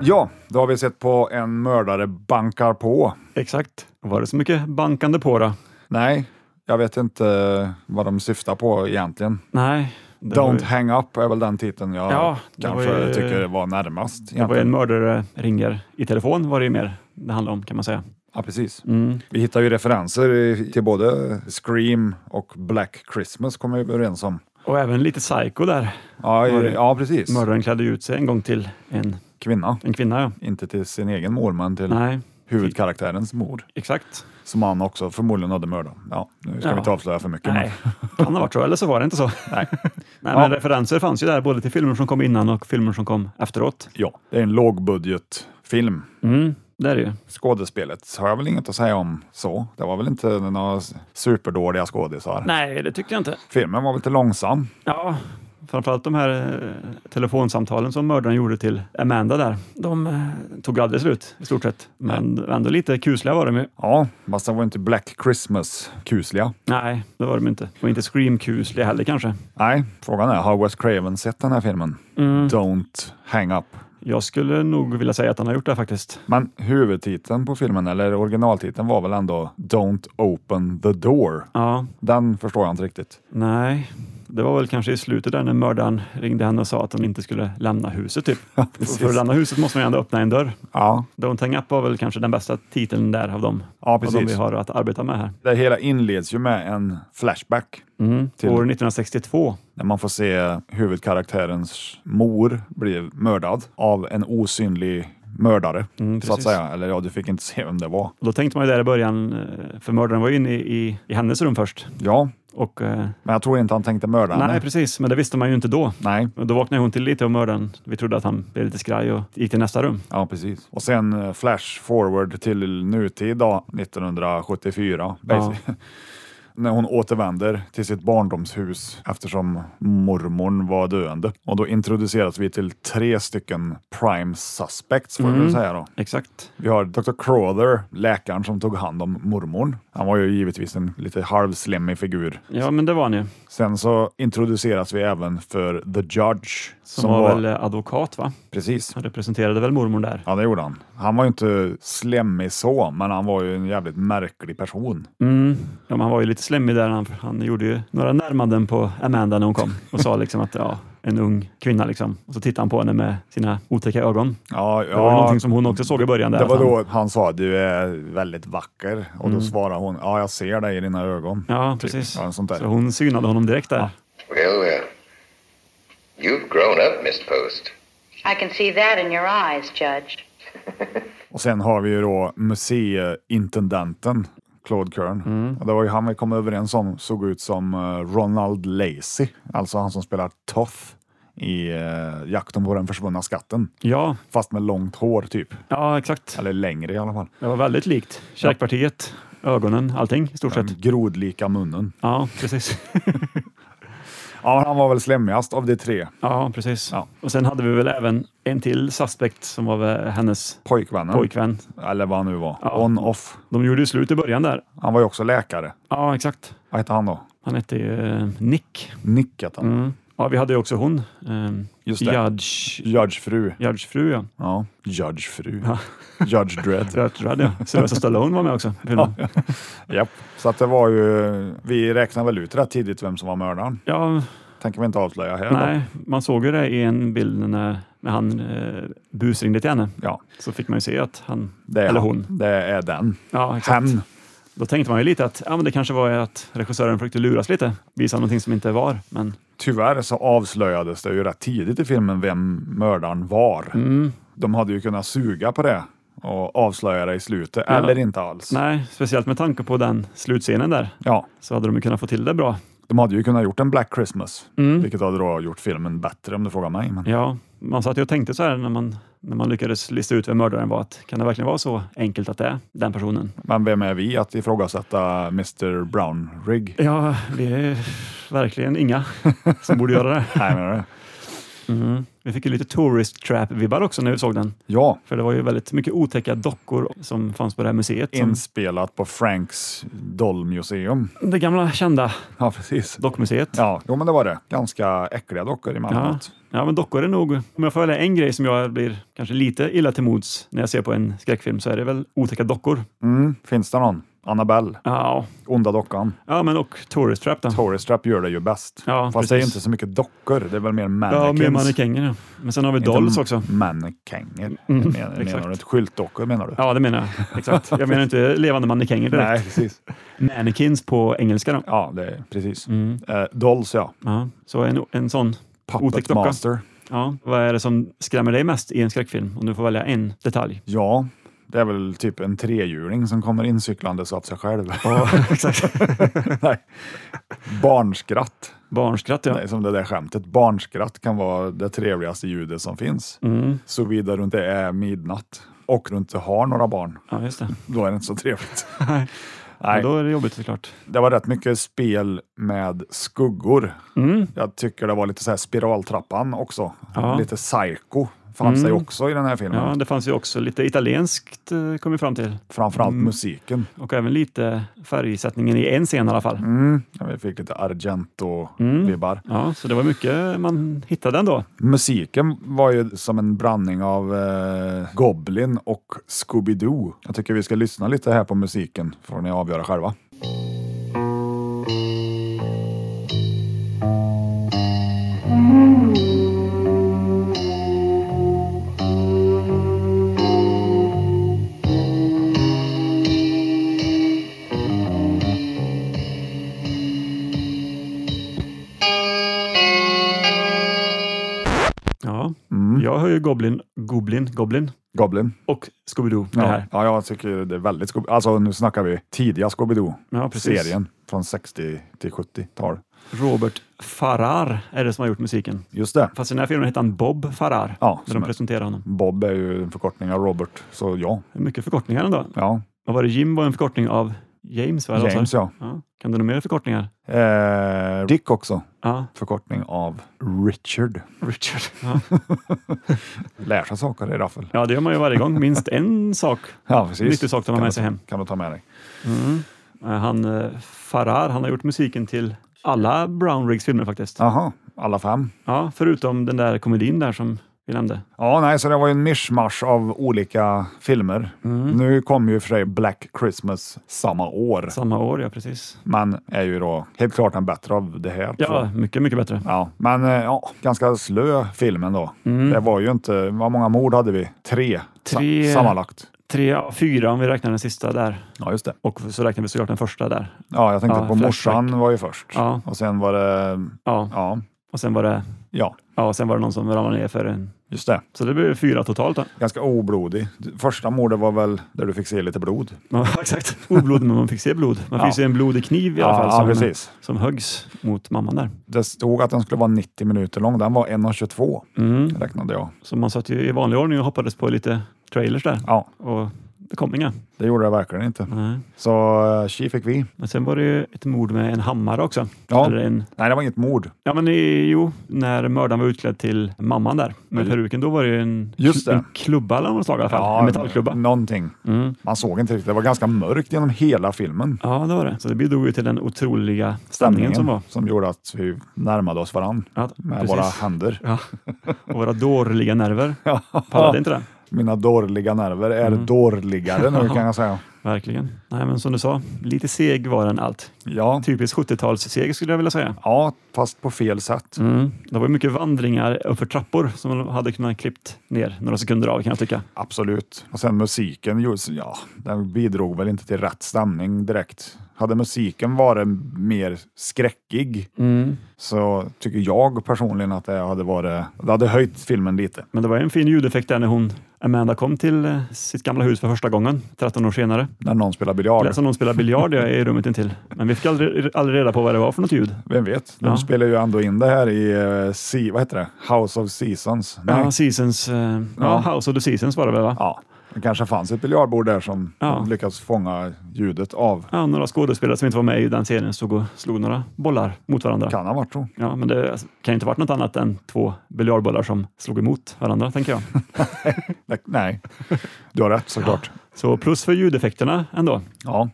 S2: Ja, då har vi sett på En mördare bankar på.
S3: Exakt. Var det så mycket bankande på då?
S2: Nej, jag vet inte vad de syftar på egentligen.
S3: Nej. Det var,
S2: Don't
S3: ju-
S2: hang up är väl den titeln jag
S3: Ja, det var
S2: kanske
S3: ju-
S2: tycker var närmast.
S3: det var ju en
S2: egentligen.
S3: mördare ringer i telefon var det ju mer det handlade om kan man säga.
S2: Ja, precis.
S3: Mm.
S2: Vi hittar ju referenser i- till både Scream och Black Christmas kommer vi överens om.
S3: Och även lite psycho där.
S2: Ja,
S3: Var det-
S2: i, ja precis.
S3: Mördaren klädde ut sig en gång till en,
S2: Kvinna.
S3: en kvinna. Ja.
S2: Inte till sin egen mor, men till
S3: Nej,
S2: huvudkaraktärens mor.
S3: Exakt.
S2: Som han också förmodligen hade mördat. Ja, nu ska
S3: Ja.
S2: vi inte avslöja för mycket.
S3: Nej, kan ha varit så. Eller så var det inte så.
S2: Nej.
S3: [LAUGHS] Nej,
S2: Ja.
S3: men referenser fanns ju där, både till filmer som kom innan och filmer som kom efteråt.
S2: Ja, det är en lågbudgetfilm.
S3: Mm, det är det ju.
S2: Skådespelet har jag väl inget att säga om så. Det var väl inte några superdåliga skådisar.
S3: Nej, det tyckte jag inte.
S2: Filmen var väl lite långsam.
S3: Ja, framförallt de här eh, telefonsamtalen som mördaren gjorde till Amanda där. De eh, tog aldrig slut i stort sett, men ändå lite kusliga var de ju.
S2: Ja, fast den var ju inte Black Christmas-kusliga.
S3: Nej, det var de inte. Och inte Scream-kusliga heller kanske.
S2: Nej, frågan är, har Wes Craven sett den här filmen?
S3: Mm.
S2: Don't hang up.
S3: Jag skulle nog vilja säga att han har gjort det faktiskt.
S2: Men huvudtiteln på filmen, eller originaltiteln, var väl ändå Don't open the door.
S3: Ja,
S2: Den förstår jag inte riktigt.
S3: nej. Det var väl kanske i slutet där när mördaren ringde henne och sa att hon inte skulle lämna
S2: [LAUGHS]
S3: huset. Typ.
S2: precis.
S3: För att lämna huset måste man ju ändå öppna en dörr.
S2: Ja,
S3: Don't hang up var väl kanske den bästa titeln där av dem,
S2: ja
S3: av dem vi
S2: precis.
S3: har att arbeta med här.
S2: Det hela inleds ju med en flashback
S3: Mm.
S2: Till-
S3: År 1962
S2: när man får se huvudkaraktärens mor bli mördad av en osynlig mördare.
S3: Mm,
S2: så att
S3: precis.
S2: säga. Eller ja, du fick inte se vem det var.
S3: Och då tänkte man ju där i början, eh, för mördaren var ju inne i, i, i hennes rum först.
S2: Ja,
S3: Och, eh,
S2: men jag tror inte han tänkte mörda
S3: nej,
S2: henne.
S3: precis, men det visste man ju inte då.
S2: Nej,
S3: Och då vaknade hon till lite och mördaren, vi trodde att han blev lite skraj och gick till nästa rum.
S2: Ja, precis. Och sen eh, flash forward till nutid då, 1974. basi- När hon återvänder till sitt barndomshus eftersom mormorn var döende. Och då introduceras vi till tre stycken prime suspects får vi
S3: Mm.
S2: väl säga då.
S3: Exakt.
S2: Vi har Dr. Crowther, läkaren som tog hand om mormorn. Han var ju givetvis en lite halvslemmig figur.
S3: Ja, men det var han ju. Som,
S2: Sen så introduceras vi även för The Judge. Som,
S3: var, väl eh, advokat, va?
S2: Precis.
S3: Han representerade väl mormor där.
S2: Ja, det gjorde han. Han var ju inte slemmig så, men han var ju en jävligt märklig person.
S3: Mm. Ja, men han var ju lite slemmig där. Han, han gjorde ju några närmanden på Amanda när hon kom och sa liksom att ja, en ung kvinna liksom. Och så tittade han på henne med sina otäcka ögon.
S2: Ja, ja,
S3: Det var ju någonting som hon också såg i början. Där, alltså.
S2: det var
S3: att han-
S2: då han sa du är väldigt vacker och då svarade hon ja, jag ser dig i dina ögon.
S3: Mm. Ja, precis.
S2: typ. Ja, sånt där.
S3: Så hon synade honom direkt där.
S5: Well, well. You've grown up, Miss Post.
S6: I can see that in your eyes, Judge.
S2: Och sen har vi ju då museiintendenten Claude Kern.
S3: Mm.
S2: Och det var ju han vi kom överens om såg ut som eh, Ronald Lacey, alltså han som spelar Toth i eh, Jakten på den försvunna skatten.
S3: Ja,
S2: Fast med långt hår typ,
S3: ja exakt.
S2: eller längre i alla fall.
S3: Det var väldigt likt. Käkpartiet, ögonen, allting i stort sett.
S2: Mm. Grodlika munnen.
S3: Ja, precis. [LAUGHS]
S2: Ja, han var väl slemmigast av de tre
S3: Ja, precis. Och sen hade vi väl även en till suspect som var väl hennes
S2: pojkvännen,
S3: pojkvän.
S2: eller vad han nu var, on-off.
S3: De gjorde ju slut i början där.
S2: Han var ju också läkare.
S3: Ja, exakt.
S2: Vad hette han då?
S3: Han hette ju eh, Nick.
S2: Nick hette han.
S3: Mm. Ja, vi hade ju också hon. ehm,
S2: Just det.
S3: Judge,
S2: Judge-fru.
S3: Judge fru, ja.
S2: Ja, judge-fru. [LAUGHS] Judge Dredd.
S3: Rätt rädd, ja. Sylvester Stallone var med också. Ja,
S2: Japp. Så att det var ju, vi räknade väl ut rätt tidigt vem som var mördaren.
S3: ja,
S2: Tänker vi inte avslöja här. då.
S3: nej, man såg ju det i en bild när, när han eh, busringde till henne.
S2: Ja,
S3: Så fick man ju se att han,
S2: det är
S3: eller
S2: han.
S3: hon.
S2: Det är den.
S3: Ja, exakt.
S2: Hen.
S3: Då tänkte man ju lite att ja, men det kanske var att regissören försökte luras lite, visa någonting som inte var. Men
S2: Tyvärr så avslöjades det ju rätt tidigt i filmen vem mördaren var.
S3: Mm.
S2: De hade ju kunnat suga på det och avslöja det i slutet, eller inte alls.
S3: nej, speciellt med tanke på den slutscenen där
S2: Ja,
S3: så hade de ju kunnat få till det bra.
S2: de hade ju kunnat gjort en Black Christmas,
S3: Mm.
S2: vilket hade då gjort filmen bättre om du frågar mig. Men...
S3: Ja, man satt ju och tänkte så här när man, när man lyckades lista ut vem mördaren var, att kan det verkligen vara så enkelt att det är den personen?
S2: men vem är vi att ifrågasätta Mr
S3: [LAUGHS]
S2: Brownrigg?
S3: Ja, vi är verkligen inga som borde göra det.
S2: Nej, eh, menar du?
S3: Vi fick ju lite Tourist Trap-vibbar också när vi såg den,
S2: Ja,
S3: för det var ju väldigt mycket otäcka dockor som fanns på det här museet. Som,
S2: inspelat på Franks Dollmuseum.
S3: det gamla kända
S2: Ja, precis.
S3: dockmuseet.
S2: Ja, jo, men det var det. Ganska äckliga dockor emellanåt.
S3: Ja, men dockor är nog... Om jag får välja en grej som jag blir kanske lite illa till mods när jag ser på en skräckfilm så är det väl otäcka dockor.
S2: Mm, finns det någon? Annabelle,
S3: Ja,
S2: Onda dockan.
S3: ja men och Tourist Trap då.
S2: Tourist Trap gör det ju bäst.
S3: Ja,
S2: Fast det är ju
S3: precis.
S2: inte så mycket dockor, det är väl mer mannequins.
S3: Ja, med mannekänger. ja. Men sen har vi
S2: Inte
S3: Dolls också. Mm,
S2: Mannekänger. menar,
S3: exakt.
S2: menar du? Ett Skyltdockor menar du?
S3: Ja, det menar jag. Exakt. Jag menar inte levande
S2: Nej,
S3: mannekänger direkt.
S2: precis.
S3: Mannequins på engelska då.
S2: Ja, det är, precis.
S3: Mm.
S2: Eh, Dolls ja.
S3: Ja, så en, en sån otäck
S2: Puppet
S3: docka.
S2: Master.
S3: Ja, vad är det som skrämmer dig mest i en skräckfilm? Om du får välja en detalj.
S2: Ja, Det är väl typ en trehjuling som kommer incyklandes av sig
S3: [LAUGHS]
S2: själv.
S3: Exakt.
S2: [LAUGHS] Nej. Barnskratt.
S3: Barnskratt ja.
S2: Nej, som det där skämtet. Barnskratt kan vara det trevligaste ljudet som finns.
S3: Mm.
S2: Såvida du inte är midnatt och du inte har några barn.
S3: Ja, just det.
S2: Då är det inte så trevligt.
S3: Nej.
S2: Nej.
S3: Då är det jobbigt såklart.
S2: Det var rätt mycket spel med skuggor. Jag tycker det var lite så här spiraltrappan också.
S3: Mm. Ja. Mm.
S2: Lite psycho fanns det ju också i den här filmen.
S3: Ja, det fanns ju också lite italienskt eh, kom vi fram till
S2: Framförallt
S3: Mm.
S2: musiken.
S3: och även lite färgsättningen i en scen i alla fall.
S2: Mm. Ja, Vi fick lite Argento-vibbar.
S3: Ja, så det var mycket man hittade ändå.
S2: Musiken var ju som en blandning av eh, Goblin och Scooby-Doo. Jag tycker vi ska lyssna lite här på musiken, får ni avgöra själva.
S3: Ja,
S2: Mm.
S3: jag hör ju Goblin, Goblin, Goblin
S2: Goblin.
S3: och Scooby-Doo. Det
S2: Ja,
S3: här.
S2: ja jag tycker det är väldigt Scooby Alltså nu snackar vi tidiga
S3: Ja, precis.
S2: Scooby-Doo-serien från 60 till 70-tal.
S3: Robert Farrar är det som har gjort musiken.
S2: Just det.
S3: Fast i den här filmen heter han Bob Farrar,
S2: Ja,
S3: när
S2: som
S3: de
S2: är-
S3: presenterar honom.
S2: Bob är ju en förkortning av Robert, så ja.
S3: Mycket förkortningar ändå.
S2: ja.
S3: Vad var det? Jim var en förkortning av James, va? Eller vad sa du?
S2: James ja.
S3: ja. Kan du några mer förkortningar?
S2: Eh, Dick också.
S3: Ja,
S2: Förkortning av Richard.
S3: [LAUGHS] Richard. Ja.
S2: Lär sig saker i raffel.
S3: ja, det gör man ju varje gång. Minst en sak.
S2: Ja, precis.
S3: Nyttig sak att ha
S2: Kan
S3: med
S2: du-
S3: sig hem.
S2: Kan du ta med dig.
S3: Eh, Han eh, Farrar, han har gjort musiken till alla Brown Riggs filmer faktiskt. Ja.
S2: Jaha, alla fem.
S3: förutom den där komedin där som vi nämnde.
S2: Ja, nej, så det var ju en mischmasch av olika filmer.
S3: Mm.
S2: Nu kom ju i och för sig Black Christmas samma år,
S3: Samma år, ja precis.
S2: men är ju då helt klart den bättre av det här. tror jag.
S3: Ja, mycket, mycket bättre.
S2: Ja, men eh, ja, ganska slö film ändå.
S3: Mm.
S2: Det var ju inte, hur många mord hade vi? Tre, sa-
S3: Tre.
S2: sammanlagt.
S3: Tre, fyra om vi räknar den sista där.
S2: Ja, just det.
S3: Och så räknar vi såklart den första där.
S2: Ja, jag tänkte
S3: Ja,
S2: på
S3: Flashback.
S2: morsan var ju först
S3: Ja.
S2: och sen var det,
S3: Ja,
S2: ja,
S3: och sen var det,
S2: ja,
S3: ja, sen var det någon som ramlade ner för en.
S2: just det.
S3: Så det blev fyra
S2: [LAUGHS]
S3: totalt. Då.
S2: Ganska oblodig. Första mordet var väl där du fick se lite blod.
S3: Ja, exakt. Oblod, men man fick se blod. Man
S2: Ja.
S3: fick se en blodig kniv i alla
S2: Ja,
S3: fall
S2: ja,
S3: som,
S2: precis.
S3: som höggs mot mamman där.
S2: Det stod att den skulle vara 90 minuter lång. Den var 1.22
S3: Mm.
S2: räknade jag.
S3: Så man satt ju i vanlig ordning och hoppades på lite trailers där.
S2: Ja,
S3: Och det kom inga.
S2: det gjorde det verkligen inte.
S3: Nej.
S2: Så eh, tji fick vi.
S3: Men sen var det ju ett mord med en hammare också.
S2: Ja.
S3: Eller en,
S2: Nej, det var inget mord.
S3: ja men i, jo, när mördaren var utklädd till mamman där med peruken, då var det ju en,
S2: Mm. Just det. Mm.
S3: en klubba eller något slag i alla fall. en metallklubba. Mm.
S2: Någonting. Man såg inte riktigt. Det var ganska mörkt genom hela filmen.
S3: Ja, det var det. Så det bidrog ju till den otroliga stämningen som var.
S2: som gjorde att vi närmade oss varandra
S3: Ja,
S2: med
S3: precis.
S2: våra händer.
S3: Ja. Och våra dårliga nerver. Pallade inte det?
S2: Mina dåliga nerver är
S3: Mm.
S2: dårligare nu kan jag
S3: [LAUGHS]
S2: säga.
S3: Typ. Verkligen. Nej, men som du sa, lite seg var den allt.
S2: Ja.
S3: Typisk 70-talsseg skulle jag vilja säga.
S2: ja, fast på fel sätt.
S3: Det var ju mycket vandringar uppför trappor som man hade kunnat klippt ner några sekunder av kan jag tycka.
S2: Absolut. Och sen musiken, just, ja, den bidrog väl inte till rätt stämning direkt. Hade musiken varit mer skräckig
S3: Mm.
S2: så tycker jag personligen att det hade, varit, det hade höjt filmen lite.
S3: Men det var ju en fin ljudeffekt där när hon, Amanda, kom till eh, sitt gamla hus för första gången 13 år senare.
S2: När någon spelar biljard.
S3: Lät som någon spelade biljard i rummet intill. Men vi fick aldrig, aldrig reda på vad det var för något ljud.
S2: Vem vet? De
S3: Ja.
S2: spelar ju ändå in det här i eh, se, vad heter det? House of Seasons. Nej.
S3: Ja, seasons, eh, ja. House of the Seasons var det väl? Va?
S2: Ja, det kanske fanns ett biljardbord där som
S3: Ja.
S2: de lyckats fånga ljudet av.
S3: Ja, några skådespelare som inte var med i den serien stod och slog några bollar mot varandra.
S2: Kan ha varit så.
S3: Ja, men det kan ju inte varit något annat än två biljardbollar som slog emot varandra, tänker [LAUGHS] jag.
S2: Nej, Nej, du har rätt såklart.
S3: Så plus för ljudeffekterna ändå.
S2: Ja.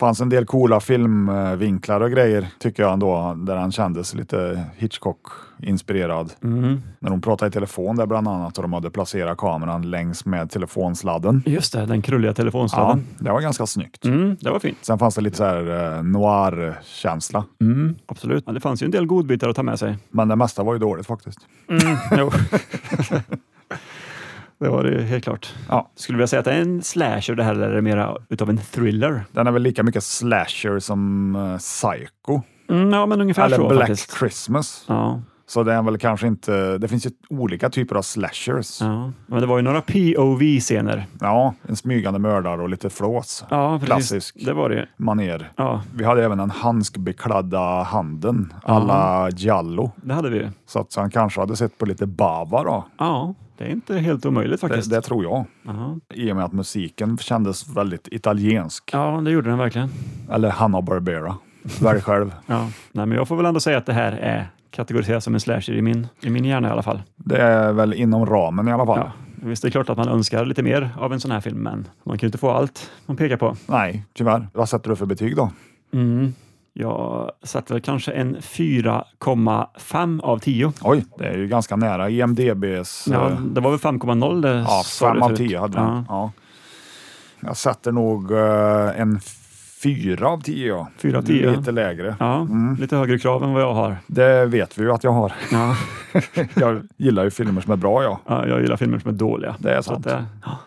S2: fanns en del coola filmvinklar och grejer tycker jag ändå, där han kändes lite Hitchcock-inspirerad.
S3: Mm.
S2: När de pratade i telefon där bland annat och de hade placerat kameran längs med telefonsladden.
S3: Just det, den krulliga
S2: Ja,
S3: telefonsladden.
S2: det var ganska snyggt.
S3: Mm, det var fint,
S2: Sen fanns det lite så här eh, noir-känsla.
S3: Mm. absolut. Ja, det fanns ju en del godbitar att ta med sig.
S2: Men det mesta var ju dåligt faktiskt.
S3: [LAUGHS] Jo. [LAUGHS] det var det ju helt klart.
S2: Ja.
S3: Skulle vi säga att det är en slasher det här eller är det mera utav en thriller?
S2: Den är väl lika mycket slasher som eh, Psycho.
S3: Mm, ja, men ungefär
S2: Eller
S3: så
S2: Black
S3: faktiskt.
S2: Christmas.
S3: Ja.
S2: Så det är väl kanske inte... Det finns ju olika typer av slashers. Ja,
S3: Ja. Men det var ju några POV-scener.
S2: en smygande mördare och lite flås.
S3: Ja, precis.
S2: Klassisk
S3: Det var det ju.
S2: maner.
S3: Ja,
S2: Vi hade även den handskbeklädda handen, alla Giallo.
S3: det hade vi ju.
S2: Så att han kanske hade sett på lite Bava då.
S3: Ja, det är inte helt omöjligt
S2: Det,
S3: faktiskt.
S2: det tror jag.
S3: Ja.
S2: I och med att musiken kändes väldigt italiensk.
S3: ja, det gjorde den verkligen.
S2: Eller Hanna Barbera. Välj själv.
S3: Ja. Nej, men jag får väl ändå säga att det här är kategoriserat som en slasher i min, i min hjärna i alla fall.
S2: Det är väl inom ramen i alla fall.
S3: Ja. Visst, det är klart att man önskar lite mer av en sån här film, men man kan ju inte få allt man pekar på.
S2: Nej, tyvärr. Vad sätter du för betyg då?
S3: Mm. Jag sätter väl kanske en 4,5 av 10.
S2: Oj, det är ju ganska nära E IMDBs...
S3: Ja,
S2: eh,
S3: det var väl 5,0 det
S2: ja
S3: sa du
S2: fem av
S3: förut.
S2: tio hade den.
S3: ja,
S2: Ja. Jag sätter nog eh, en fyra av tio. ja.
S3: Fyra av tio, ja.
S2: Lite Mm. lägre.
S3: ja Lite högre krav än vad jag har.
S2: Det vet vi ju att jag har. [LAUGHS]
S3: Ja.
S2: jag gillar ju filmer som är bra, ja.
S3: Ja, jag gillar filmer som är dåliga.
S2: Det är
S3: Så
S2: sant.
S3: att det, ja,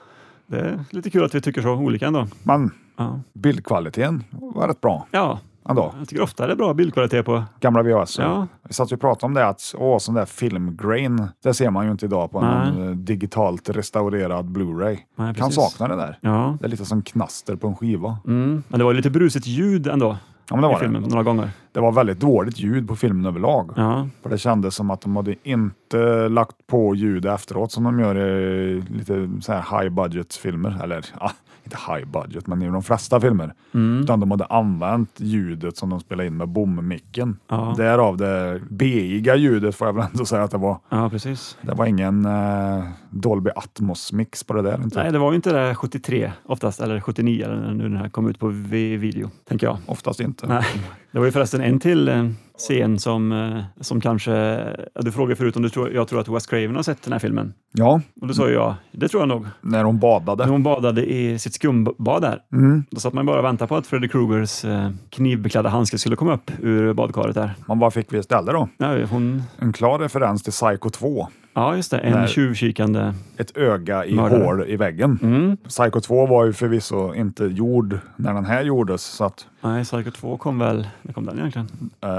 S3: det är lite kul att vi tycker så olika ändå.
S2: Men
S3: Ja,
S2: bildkvaliteten var rätt bra
S3: ja
S2: ändå.
S3: jag tycker ofta det är bra bildkvalitet på.
S2: Gamla VHS.
S3: Ja.
S2: Vi satt ju och pratade om det, att åh, sån där filmgrain, det ser man ju inte idag på
S3: Nej.
S2: en eh, digitalt restaurerad Blu-ray. kan
S3: Nej, precis.
S2: sakna det där.
S3: Ja.
S2: Det är lite som knaster på en skiva.
S3: Mm. Men det var ju lite brusigt ljud ändå
S2: Ja, men det,
S3: i
S2: var
S3: filmen
S2: det.
S3: några gånger.
S2: det var väldigt dåligt ljud på filmen överlag.
S3: Ja.
S2: För det kändes som att de hade inte lagt på ljud efteråt som de gör i lite så här high budget filmer. Eller ja, inte high budget, men i de flesta filmer.
S3: Mm.
S2: Utan de hade använt ljudet som de spelade in med bommicken.
S3: Ja.
S2: Därav det beiga ljudet får jag väl ändå säga att det var.
S3: ja, precis.
S2: Det var ingen eh, Dolby Atmos-mix på det där. typ. Inte.
S3: Nej, det var ju inte det 73 oftast, eller 79 eller när nu den här kom ut på vi- video, tänker jag.
S2: Oftast inte.
S3: Nej. Det var ju förresten en till eh, scen som, eh, som kanske... ja, Du frågade förut om du tror, jag tror att Wes Craven har sett den här filmen.
S2: Ja,
S3: Och då sa ju jag, det tror jag nog.
S2: när hon badade.
S3: När hon badade i sitt skumbad där,
S2: Mm.
S3: då satt man bara och väntade på att Freddy Krugers eh, knivbeklädda handske skulle komma upp ur badkaret där.
S2: Man bara fick vi istället då?
S3: Ja, hon,
S2: En klar referens till Psycho 2.
S3: ja just det, en
S2: Där.
S3: tjuvkikande...
S2: ett öga i
S3: Mördare. Mm.
S2: hål i väggen. Psycho 2 var ju förvisso inte gjord när den här gjordes, så att
S3: Nej, Psycho 2 kom väl... När kom den egentligen?
S2: eh,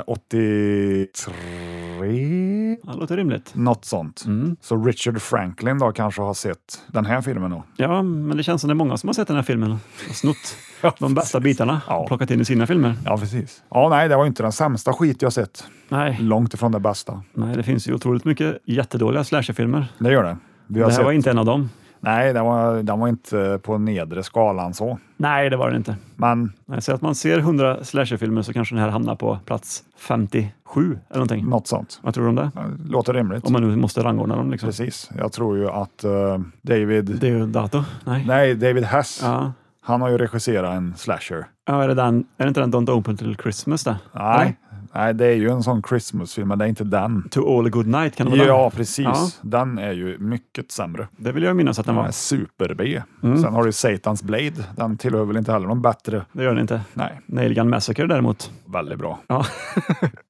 S2: 83,
S3: Ja, det låter rimligt.
S2: något sånt.
S3: Mm.
S2: Så Richard Franklin då kanske har sett den här filmen då.
S3: Ja, men det känns som det är många som har sett den här filmen och snott de bästa bitarna
S2: Ja.
S3: och plockat in i sina filmer.
S2: Ja, precis. Ja, nej, det var ju inte den sämsta skit jag sett.
S3: Nej,
S2: Långt ifrån det bästa.
S3: nej det finns ju otroligt mycket jättedåliga slasherfilmer.
S2: Det gör det. Vi
S3: Det
S2: har
S3: här
S2: sett...
S3: var inte en av dem.
S2: Nej, den var, den var inte på nedre skalan så.
S3: Nej, det var den inte.
S2: Men
S3: Nej, så att man ser 100 slasherfilmer så kanske den här hamnar på plats 57 eller någonting.
S2: något sånt.
S3: Vad tror du om det?
S2: Låter rimligt.
S3: Om man nu måste rangordna dem liksom.
S2: Precis. Jag tror ju att eh, David...
S3: Det är ju Dato. Nej.
S2: Nej, David Hess.
S3: Ja.
S2: Han har ju regisserat en slasher.
S3: ja, är det den? Är det inte den Don't Open Till Christmas där?
S2: Nej, nej det är ju en sån Christmas-film, men det är inte den.
S3: To All A Good Night kan det vara
S2: Ja,
S3: den?
S2: precis.
S3: Ja.
S2: Den är ju mycket sämre.
S3: Det vill jag minnas att den
S2: Den
S3: var.
S2: är super-B.
S3: Mm.
S2: Sen har du Satans Blade. Den tillhör väl inte heller någon bättre.
S3: Det gör den inte.
S2: Nej,
S3: Nail Gun Massacre däremot.
S2: väldigt bra.
S3: Ja.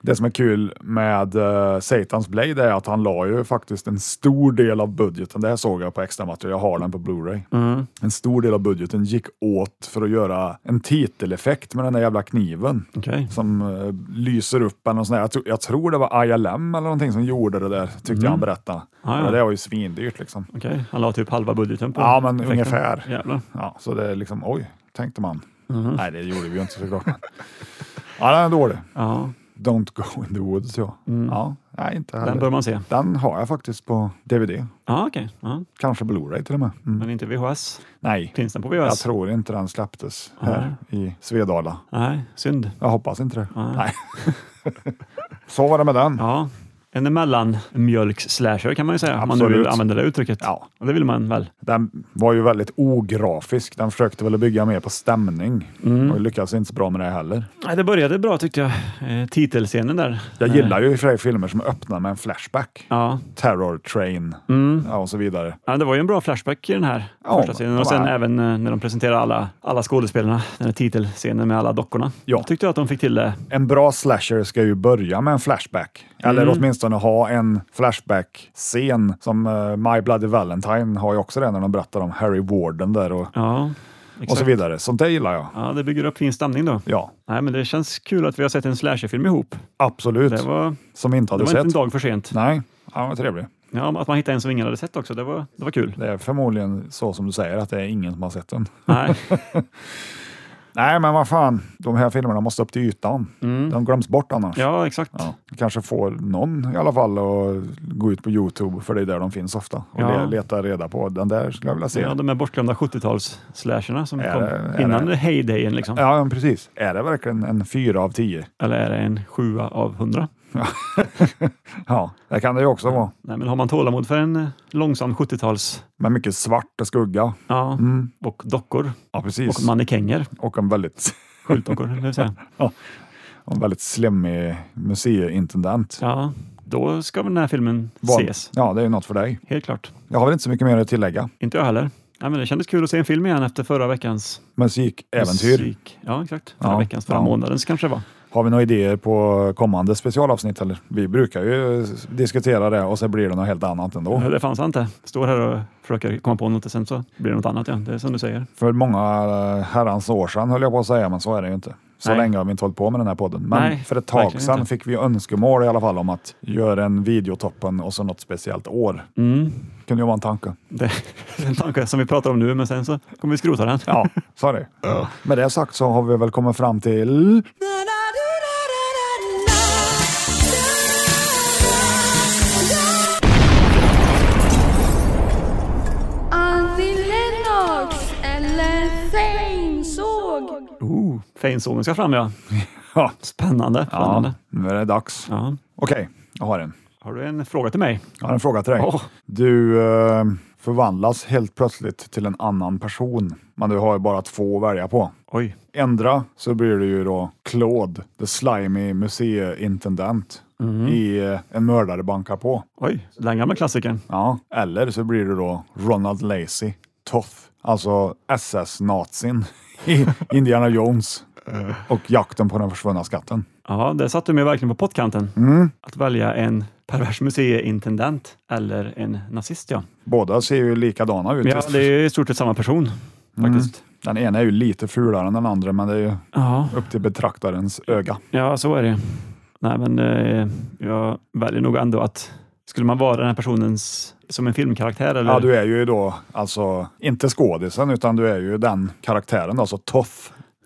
S2: Det som är kul med eh, Satans Blade är att han la ju faktiskt en stor del av budgeten. Det här såg jag på extra material. Jag har den på Blu-ray.
S3: Mm.
S2: En stor del av budgeten gick åt för att göra en titeleffekt med den där jävla kniven.
S3: Okej.
S2: som eh, lyser upp eller något sånt där. Jag, tro, jag tror det var ILM eller någonting som gjorde det där, tyckte jag han berättade.
S3: Ah, ja.
S2: Och Det var ju svindyrt liksom.
S3: Okej, han la typ halva budgeten på
S2: Ja, men
S3: effekten.
S2: ungefär.
S3: Jävlar.
S2: Ja, så det är liksom, oj, tänkte man.
S3: Mm-hmm.
S2: Nej, det gjorde vi ju inte såklart. Men. ja, den är dålig.
S3: Ja, Mm.
S2: Don't go in the woods, ja. ja nej, inte heller.
S3: den bör man se.
S2: Den har jag faktiskt på DVD,
S3: Ja, okej. Ja.
S2: kanske Blu-ray till och med. Mm.
S3: Men inte VHS.
S2: Nej,
S3: Finns den på
S2: jag
S3: VHS?
S2: tror inte den släpptes här i Svedala.
S3: Nej, synd.
S2: Jag hoppas inte det. Nej. [LAUGHS] så var det med den.
S3: Ja, en mellanmjölks-slasher kan man ju säga, om man nu
S2: Absolut.
S3: vill använda det uttrycket.
S2: Ja.
S3: Och det vill man väl?
S2: Den var ju väldigt ografisk. Den försökte väl bygga mer på stämning
S3: Mm.
S2: och lyckades inte så bra med det heller.
S3: Nej, det började bra tyckte jag. Eh, titelscenen där.
S2: Jag gillar ju i och för sig filmer som öppnar med en flashback.
S3: Ja. Mm.
S2: Terror Train ja, och så vidare.
S3: ja, det var ju en bra flashback i den här
S2: Ja,
S3: första scenen.
S2: men-
S3: Och sen
S2: ja.
S3: även eh, när de presenterar alla, alla skådespelarna, den här titelscenen med alla dockorna.
S2: Ja.
S3: Jag tyckte att de fick till det.
S2: En bra slasher ska ju börja med en flashback. Eller
S3: Mm.
S2: åtminstone ha en flashback-scen. Som eh, My Bloody Valentine har ju också det när de berättar om Harry Warden där och
S3: Ja,
S2: och så
S3: Exakt.
S2: vidare. Sånt där gillar jag.
S3: Ja, det bygger upp fin stämning då.
S2: Ja,
S3: Nej, men det känns kul att vi har sett en slasherfilm ihop.
S2: absolut.
S3: Det var,
S2: Som vi inte
S3: det
S2: hade
S3: var inte en
S2: sett.
S3: dag för sent.
S2: Nej, ja, vad trevligt.
S3: Ja, att man hittade en som ingen hade sett också, det var, det var kul.
S2: Det är förmodligen så som du säger, att det är ingen som har sett den.
S3: Nej,
S2: Nej, men vad fan. De här filmerna måste upp till ytan. De glöms bort annars.
S3: Mm. ja exakt.
S2: Ja. Kanske får någon i alla fall att gå ut på Youtube, för det är där de finns ofta, och
S3: Ja.
S2: le- leta reda på. Den där skulle jag vilja se.
S3: Ja, de här bortglömda 70-tals-slasherna som
S2: Är
S3: kom
S2: det- är
S3: innan
S2: det-
S3: heydayen. Liksom.
S2: Ja, men precis. Är det verkligen en fyra av tio? [LAUGHS]
S3: Eller är det en sjua av hundra?
S2: Ja, det kan det ju också vara.
S3: Nej, men har man tålamod för en eh, långsam 70-tals
S2: Med mycket svart och skugga.
S3: ja, och dockor
S2: Ja, precis.
S3: och mannekänger,
S2: Och en [LAUGHS] väldigt,
S3: skyltdockor, vill jag säga.
S2: en väldigt slemmig museiintendent.
S3: Ja, då ska väl den här filmen
S2: Vad-
S3: ses.
S2: Ja, det är ju något för dig.
S3: Helt klart.
S2: Jag har väl inte så mycket mer att tillägga.
S3: Inte jag heller. Nej, men det kändes kul att se en film igen efter förra veckans
S2: Musikäventyr.
S3: musik. Ja, exakt. Förra
S2: Ja,
S3: veckans, förra
S2: ja.
S3: månadens kanske det var.
S2: Har vi några idéer på kommande specialavsnitt? Eller? Vi brukar ju diskutera det och så blir det något helt annat ändå.
S3: Det fanns inte. Står här och försöker komma på något och sen så blir det något annat. Ja. Det är som du säger.
S2: För många eh, herrans år sedan höll jag på att säga, men så är det ju inte. Så
S3: Nej.
S2: länge har vi inte hållit på med den här podden. Men
S3: Nej,
S2: för ett tag
S3: verkligen
S2: sedan
S3: inte.
S2: fick vi önskemål i alla fall om att göra en videotoppen och så något speciellt år.
S3: Mm.
S2: Kunde ju vara en tanke.
S3: Det [LAUGHS] är en tanke som vi pratar om nu, men sen så kommer vi skrota den.
S2: Ja, [LAUGHS] sorry. Med det sagt så har vi väl kommit fram till
S7: Annie Lennox eller Zane såg.
S3: Oh, Feinsonen ska fram ja.
S2: Ja.
S3: Spännande.
S2: Ja,
S3: spännande.
S2: nu är det dags.
S3: Ja.
S2: Okej, jag har en.
S3: Har du en fråga till mig?
S2: Jag har en fråga till dig.
S3: Åh.
S2: Du eh, förvandlas helt plötsligt till en annan person, men du har ju bara två att välja på.
S3: Oj.
S2: Ändra så blir du ju då Claude, the slimy museiintendent
S3: Mm.
S2: i eh, En mördare bankar på.
S3: Oj, den gamla klassikern.
S2: Ja. Eller så blir du då Ronald Lacey, Toth, alltså SS-nazin [LAUGHS] i Indiana Jones
S3: Eh.
S2: och jakten på den försvunna skatten.
S3: Ja, där satte du mig verkligen på pottkanten.
S2: Mm.
S3: Att välja en pervers museiintendent eller en nazist ja.
S2: Båda ser ju likadana ut.
S3: ja det är ju i stort sett samma person
S2: Mm.
S3: faktiskt.
S2: Den ena är ju lite fulare än den andra, men det är ju
S3: Ja,
S2: upp till betraktarens öga.
S3: ja, så är det. Nej, men eh, jag väljer nog ändå att skulle man vara den här personens som en filmkaraktär eller?
S2: Ja, du är ju då alltså inte skådisen, utan du är ju den karaktären, alltså Toth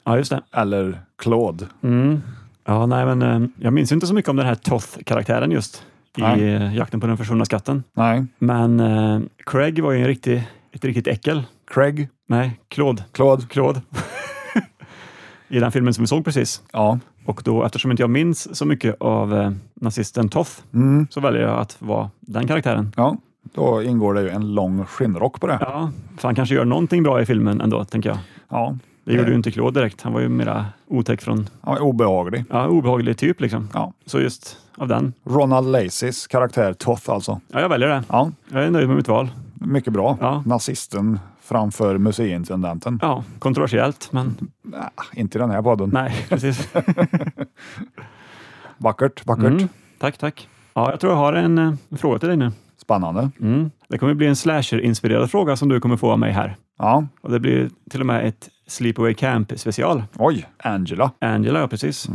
S3: ja just det.
S2: eller Claude.
S3: Mm. Ja, nej, men eh, jag minns ju inte så mycket om den här Toth-karaktären just i
S2: Nej.
S3: eh, Jakten på den försvunna skatten.
S2: Nej,
S3: Men eh, Craig var ju en riktig, ett riktigt äckel.
S2: Craig,
S3: Nej, Claude.
S2: Claude.
S3: Claude. [LAUGHS] I den filmen som vi såg precis.
S2: Ja,
S3: Och då, eftersom inte jag minns så mycket av eh, nazisten Toth,
S2: Mm.
S3: så väljer jag att vara den karaktären.
S2: ja, då ingår det ju en lång skinnrock på det.
S3: Ja, för han kanske gör någonting bra i filmen ändå, tänker jag.
S2: Ja,
S3: Det
S2: Eh.
S3: gjorde ju inte Claude direkt. Han var ju mera otäck från,
S2: han är obehaglig.
S3: ja, obehaglig typ liksom.
S2: Ja.
S3: Så just av den.
S2: Ronald Lacys karaktär Toth alltså.
S3: Ja, jag väljer det.
S2: Ja,
S3: Jag är nöjd med mitt val.
S2: mycket bra.
S3: Ja.
S2: Nazisten framför museiintendenten.
S3: Ja, kontroversiellt, men
S2: Ah, inte i den här podden.
S3: nej, [LAUGHS] precis.
S2: Vackert, vackert.
S3: Mm. Tack, tack. Ja, jag tror jag har en eh, fråga till dig nu.
S2: Spännande.
S3: Mm. Det kommer bli en slasher-inspirerad fråga som du kommer få av mig här.
S2: Ja,
S3: Och det blir till och med ett Sleepaway Camp-special.
S2: oj, Angela.
S3: Angela, ja precis.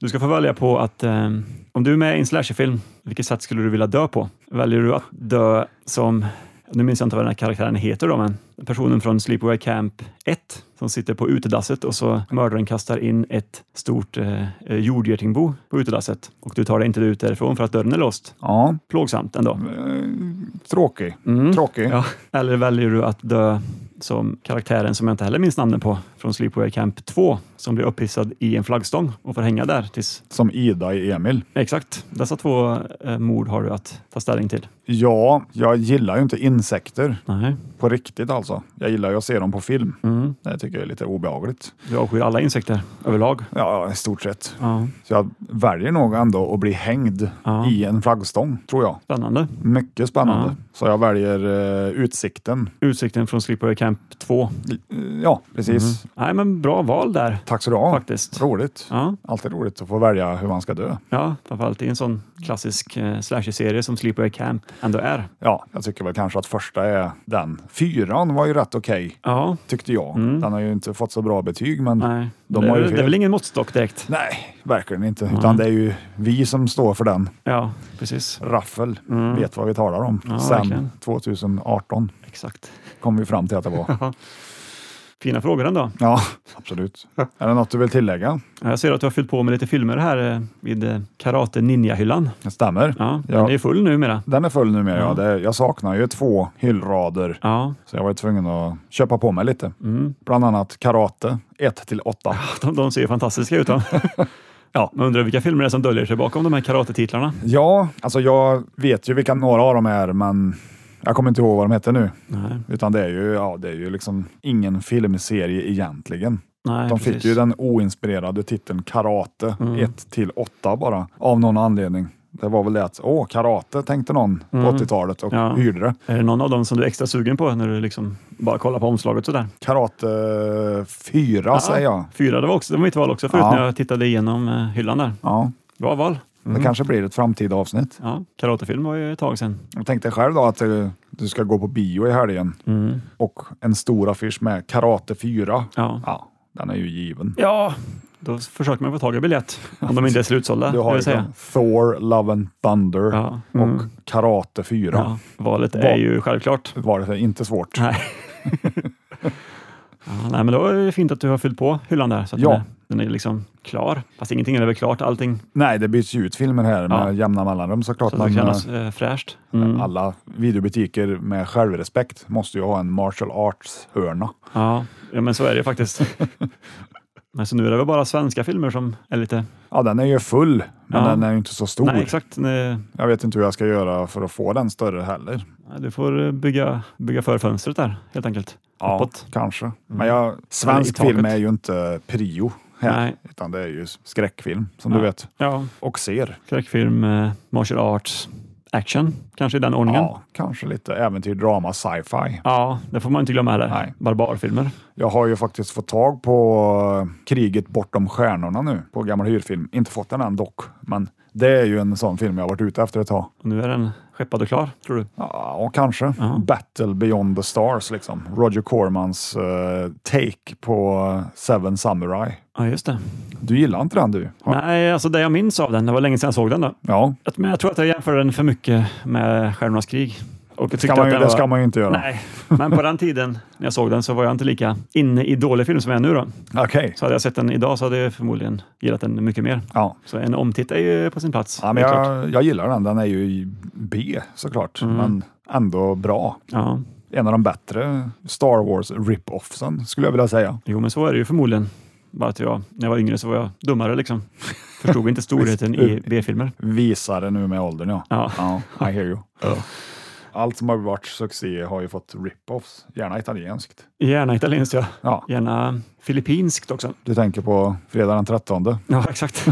S3: Du ska få välja på att eh, om du är med i en slasherfilm, vilket sätt skulle du vilja dö på? Väljer du att dö som, nu minns jag inte vad den här karaktären heter då, men personen från Sleepaway Camp 1 som sitter på utedasset och så mördaren kastar in ett stort eh, jordgetingbo på utedasset och du tar dig inte ut därifrån för att dörren är låst.
S2: Ja,
S3: Plågsamt ändå.
S2: tråkig. Tråkig.
S3: Mm. Ja. Eller väljer du att dö som karaktären som jag inte heller minns namnet på från Sleepaway Camp 2 som blir upphissad i en flaggstång och får hänga där tills...
S2: Som Ida i Emil.
S3: Exakt, dessa två eh, mord har du att ta ställning till.
S2: Ja, jag gillar ju inte insekter
S3: Nej,
S2: på riktigt alltså. Jag gillar ju att se dem på film.
S3: Mm.
S2: Det tycker jag är lite obehagligt.
S3: du avskyr alla insekter överlag.
S2: Ja, i stort sett.
S3: Ja,
S2: Så jag väljer nog ändå att bli hängd
S3: Ja.
S2: i en flaggstång, tror jag.
S3: spännande.
S2: Mycket spännande. Så jag väljer eh, utsikten. eh,
S3: Utsikten från Sleepaway Camp 2.
S2: Ja, precis.
S3: Nej, men bra val där.
S2: Tack så du ha.
S3: Mm. Faktiskt.
S2: Roligt.
S3: Ja,
S2: Alltid roligt att få välja hur man ska dö.
S3: ja framförallt i en sån klassisk eh, slasher-serie som Sleepaway Camp ändå är.
S2: Ja, jag tycker väl kanske att första är den. Fyran var ju rätt okej,
S3: Ja,
S2: tyckte jag. Den har ju inte fått så bra betyg, men
S3: Mm. nej.
S2: de
S3: det,
S2: har
S3: är,
S2: ju
S3: väl-
S2: fel.
S3: det är väl ingen måttstock direkt?
S2: Nej, verkligen inte. Utan det är ju vi som står för den.
S3: Ja, precis.
S2: Raffel vet vad vi talar om.
S3: Mm. Ja,
S2: Sen
S3: verkligen.
S2: 2018
S3: Exakt.
S2: kom vi fram till att det
S3: [LAUGHS]
S2: var.
S3: Fina frågor ändå.
S2: Ja, absolut. Är det något du vill tillägga?
S3: Ja, Jag ser att du har fyllt på med lite filmer här eh, vid eh, Karate Ninja-hyllan.
S2: Det stämmer.
S3: Ja,
S2: Ja.
S3: Den är ju full numera.
S2: Den är full numera. Ja.
S3: Ja.
S2: Det, jag saknar ju två hyllrader,
S3: Ja, [LAUGHS] Mm.
S2: så jag var ju tvungen att köpa på mig lite. Bland annat karate 1 till 8.
S3: de, de ser ju fantastiska
S2: [LAUGHS]
S3: ut. va?
S2: Ja.
S3: Man undrar vilka filmer det är som döljer sig bakom de här karatetitlarna.
S2: Ja, alltså jag vet ju vilka några av dem är, men jag kommer inte ihåg vad de heter nu.
S3: Nej,
S2: Utan det är ju, ja, det är ju liksom ingen filmserie egentligen.
S3: nej
S2: De
S3: precis. Mm.
S2: fick ju den oinspirerade titeln Karate 1 till 8 bara, av någon anledning. Det var väl det att, åh, karate tänkte någon på 80-talet och
S3: Mm. Ja.
S2: hyrde det.
S3: Är det någon av dem som du är extra sugen på när du liksom bara kollar på omslaget sådär?
S2: Karate 4 säger jag.
S3: Fyra, det var, också, det var mitt val också förut
S2: Ja.
S3: när jag tittade igenom eh, hyllan där.
S2: Ja,
S3: Bra val.
S2: det kanske blir ett framtida avsnitt.
S3: Ja, karatefilm var ju ett tag sedan.
S2: Jag tänkte själv då att eh, du ska gå på bio i helgen och en stor affisch med Karate 4.
S3: Mm. Ja.
S2: Ja, den är ju given.
S3: ja, då försöker man få tag i biljett om
S2: [LAUGHS]
S3: de inte är slutsålda.
S2: Du har
S3: vill
S2: ju
S3: säga.
S2: den. Thor, Love and Thunder
S3: Ja. Mm.
S2: och Karate 4.
S3: Ja, valet är
S2: Val.
S3: ju självklart.
S2: Var det inte svårt?
S3: Nej. [LAUGHS] ja, nej, men då är det fint att du har fyllt på hyllan där. Så att
S2: Ja.
S3: den, är, den är liksom klar. Fast ingenting är väl klart, allting.
S2: Nej, det byts ju ut filmer här med
S3: Ja.
S2: jämna mellanrum såklart.
S3: Så
S2: men
S3: det kännas
S2: eh,
S3: eh, fräscht. Mm.
S2: alla videobutiker med självrespekt måste ju ha en martial arts-hörna.
S3: Ja. ja, men så är det ju faktiskt.
S2: [LAUGHS]
S3: men så nu är det väl bara svenska filmer som är lite...
S2: Ja, den är ju full, men
S3: Ja.
S2: den är ju inte så stor.
S3: Nej, exakt. Nej,
S2: Jag vet inte hur jag ska göra för att få den större heller.
S3: Du får eh, bygga, bygga för fönstret där, helt enkelt.
S2: Ja,
S3: Uppåt.
S2: kanske. Men jag,
S3: i
S2: svensk
S3: taket.
S2: film är ju inte prio här,
S3: Nej.
S2: utan det är ju skräckfilm som
S3: Ja.
S2: du vet
S3: Ja,
S2: och ser.
S3: skräckfilm, eh, martial arts, action, kanske i den ordningen. Ja.
S2: Ja, kanske lite äventyr, drama, sci-fi.
S3: det får man inte glömma heller.
S2: Nej.
S3: Barbarfilmer.
S2: Jag har ju faktiskt fått tag på eh, Kriget bortom stjärnorna nu på gammal hyrfilm. Inte fått den än dock, men det är ju en sån film jag har varit ute efter ett tag.
S3: Och nu är den skeppad och klar, tror du?
S2: Ja, och kanske. Battle beyond the stars, liksom. Roger Cormans eh, take på eh, Seven Samurai.
S3: Ja, just det.
S2: Du gillar inte den du? Har-
S3: Nej, alltså det jag minns av den, det var länge sedan jag såg den då.
S2: Ja,
S3: Att- Men jag tror att jag jämförde den för mycket med Stjärnornas krig. Och jag
S2: ska
S3: tyckte
S2: man
S3: att
S2: ju,
S3: den
S2: det
S3: var-
S2: ska man ju inte göra.
S3: Nej, men på den tiden när jag såg den så var jag inte lika inne i dålig film som jag är nu. Då.
S2: Okej.
S3: Så hade jag sett den idag så hade jag förmodligen gillat den mycket mer.
S2: Ja.
S3: Så en omtitt är ju på sin plats.
S2: Ja, men
S3: helt klart. Mm.
S2: jag, jag gillar den. Den är ju i B såklart, men ändå bra.
S3: ja.
S2: En av de bättre Star Wars rip-offsen skulle jag vilja säga.
S3: Jo, men så är det ju förmodligen. Bara att jag, när jag var yngre så var jag dummare liksom.
S2: [LAUGHS]
S3: Förstod inte storheten i B-filmer.
S2: Visare nu med åldern ja.
S3: Ja.
S2: I hear you. Allt som har varit succé har ju fått rip-offs, gärna italienskt.
S3: Gärna italienskt, ja.
S2: Ja.
S3: Gärna filippinskt också.
S2: Du tänker på fredag den 13,
S3: Ja, exakt.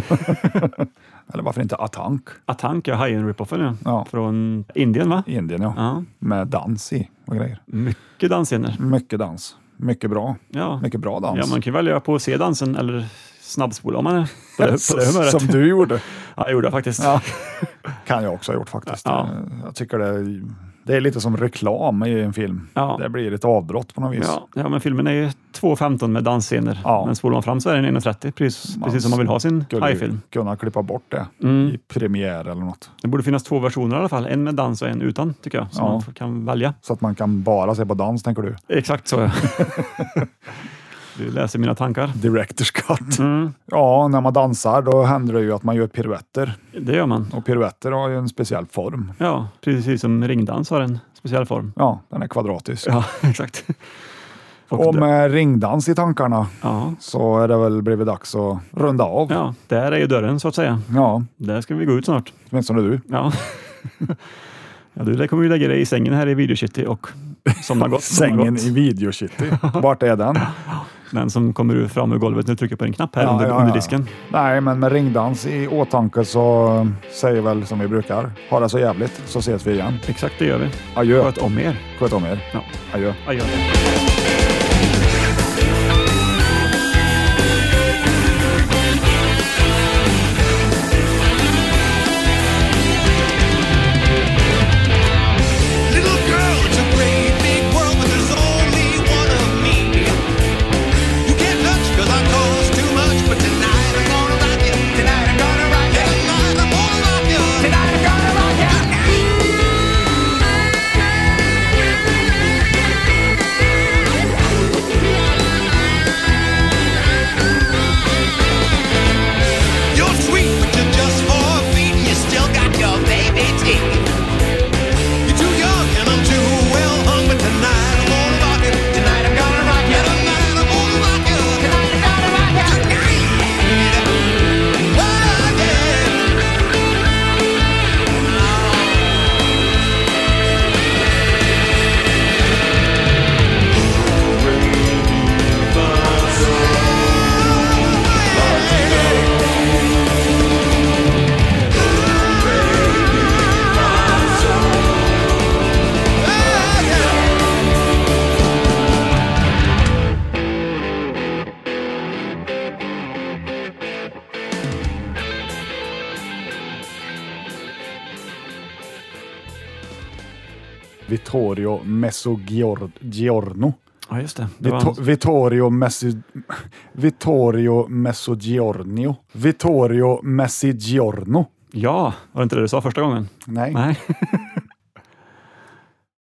S2: eller varför inte Atank
S3: Atank, ja, hajen ripoffen ja.
S2: Ja.
S3: Från Indien, va?
S2: i Indien ja.
S3: Ja, Mm.
S2: med dans i och grejer.
S3: mycket dansscener.
S2: Mycket dans, mycket bra,
S3: Ja.
S2: mycket bra dans.
S3: ja, man kan välja på att se dansen eller snabbspola om man är på det, på det humöret.
S2: Som du gjorde.
S3: Ja, det gjorde jag faktiskt.
S2: Ja. [LAUGHS] kan jag också ha gjort faktiskt.
S3: Ja.
S2: Jag tycker det, det är lite som reklam i en film.
S3: Ja.
S2: Det blir ett avbrott på något vis.
S3: Ja, ja, men filmen är ju 2.15 med dansscener,
S2: Ja.
S3: men spolar man fram så är den 1.30, precis,
S2: Man
S3: precis som man vill ha sin
S2: Skulle ju
S3: hajfilm.
S2: kunna klippa bort det
S3: Mm.
S2: i premiär eller något.
S3: Det borde finnas två versioner i alla fall, en med dans och en utan, tycker jag, som
S2: Ja.
S3: man får- kan välja.
S2: Så att man kan bara se på dans, tänker du? [LAUGHS]
S3: Exakt så. ja. du läser mina tankar.
S2: Director's cut.
S3: Mm.
S2: Ja, när man dansar då händer det ju att man gör piruetter.
S3: Det gör man.
S2: Och piruetter har ju en speciell form.
S3: Ja, precis som ringdans har en speciell form.
S2: Ja, den är kvadratisk.
S3: Ja, [LAUGHS] exakt. Och
S2: Och
S3: d-
S2: med ringdans i tankarna
S3: ja,
S2: så är det väl blivit dags att runda av.
S3: ja, där är ju dörren så att säga.
S2: Ja,
S3: Där ska vi gå ut snart.
S2: åtminstone du.
S3: Ja. [LAUGHS] Ja, du kommer ju lägga dig i sängen här i Videocity och
S2: [LAUGHS]
S3: somna gott. somna
S2: Sängen
S3: gott.
S2: i Video City. Vart är
S3: [LAUGHS]
S2: den?
S3: Den som kommer ur- fram ur golvet när du trycker på en knapp här
S2: Ja,
S3: under,
S2: ja, ja.
S3: under disken.
S2: Nej, men med ringdans i åtanke så säger väl som vi brukar. Ha det så jävligt så ses vi igen.
S3: Exakt, det gör vi.
S2: Adjö.
S3: Sköt om er.
S2: Sköt om er.
S3: Ja.
S2: Adjö.
S3: Adjö.
S2: Vittorio Mezzogiorno.
S3: Ja, just det. det var
S2: Vito-
S3: hans-
S2: Vittorio Messi... Vittorio Mezzogiorno. Vittorio Mezzogiorno.
S3: ja, var det inte det du sa första gången?
S2: Nej.
S3: Nej.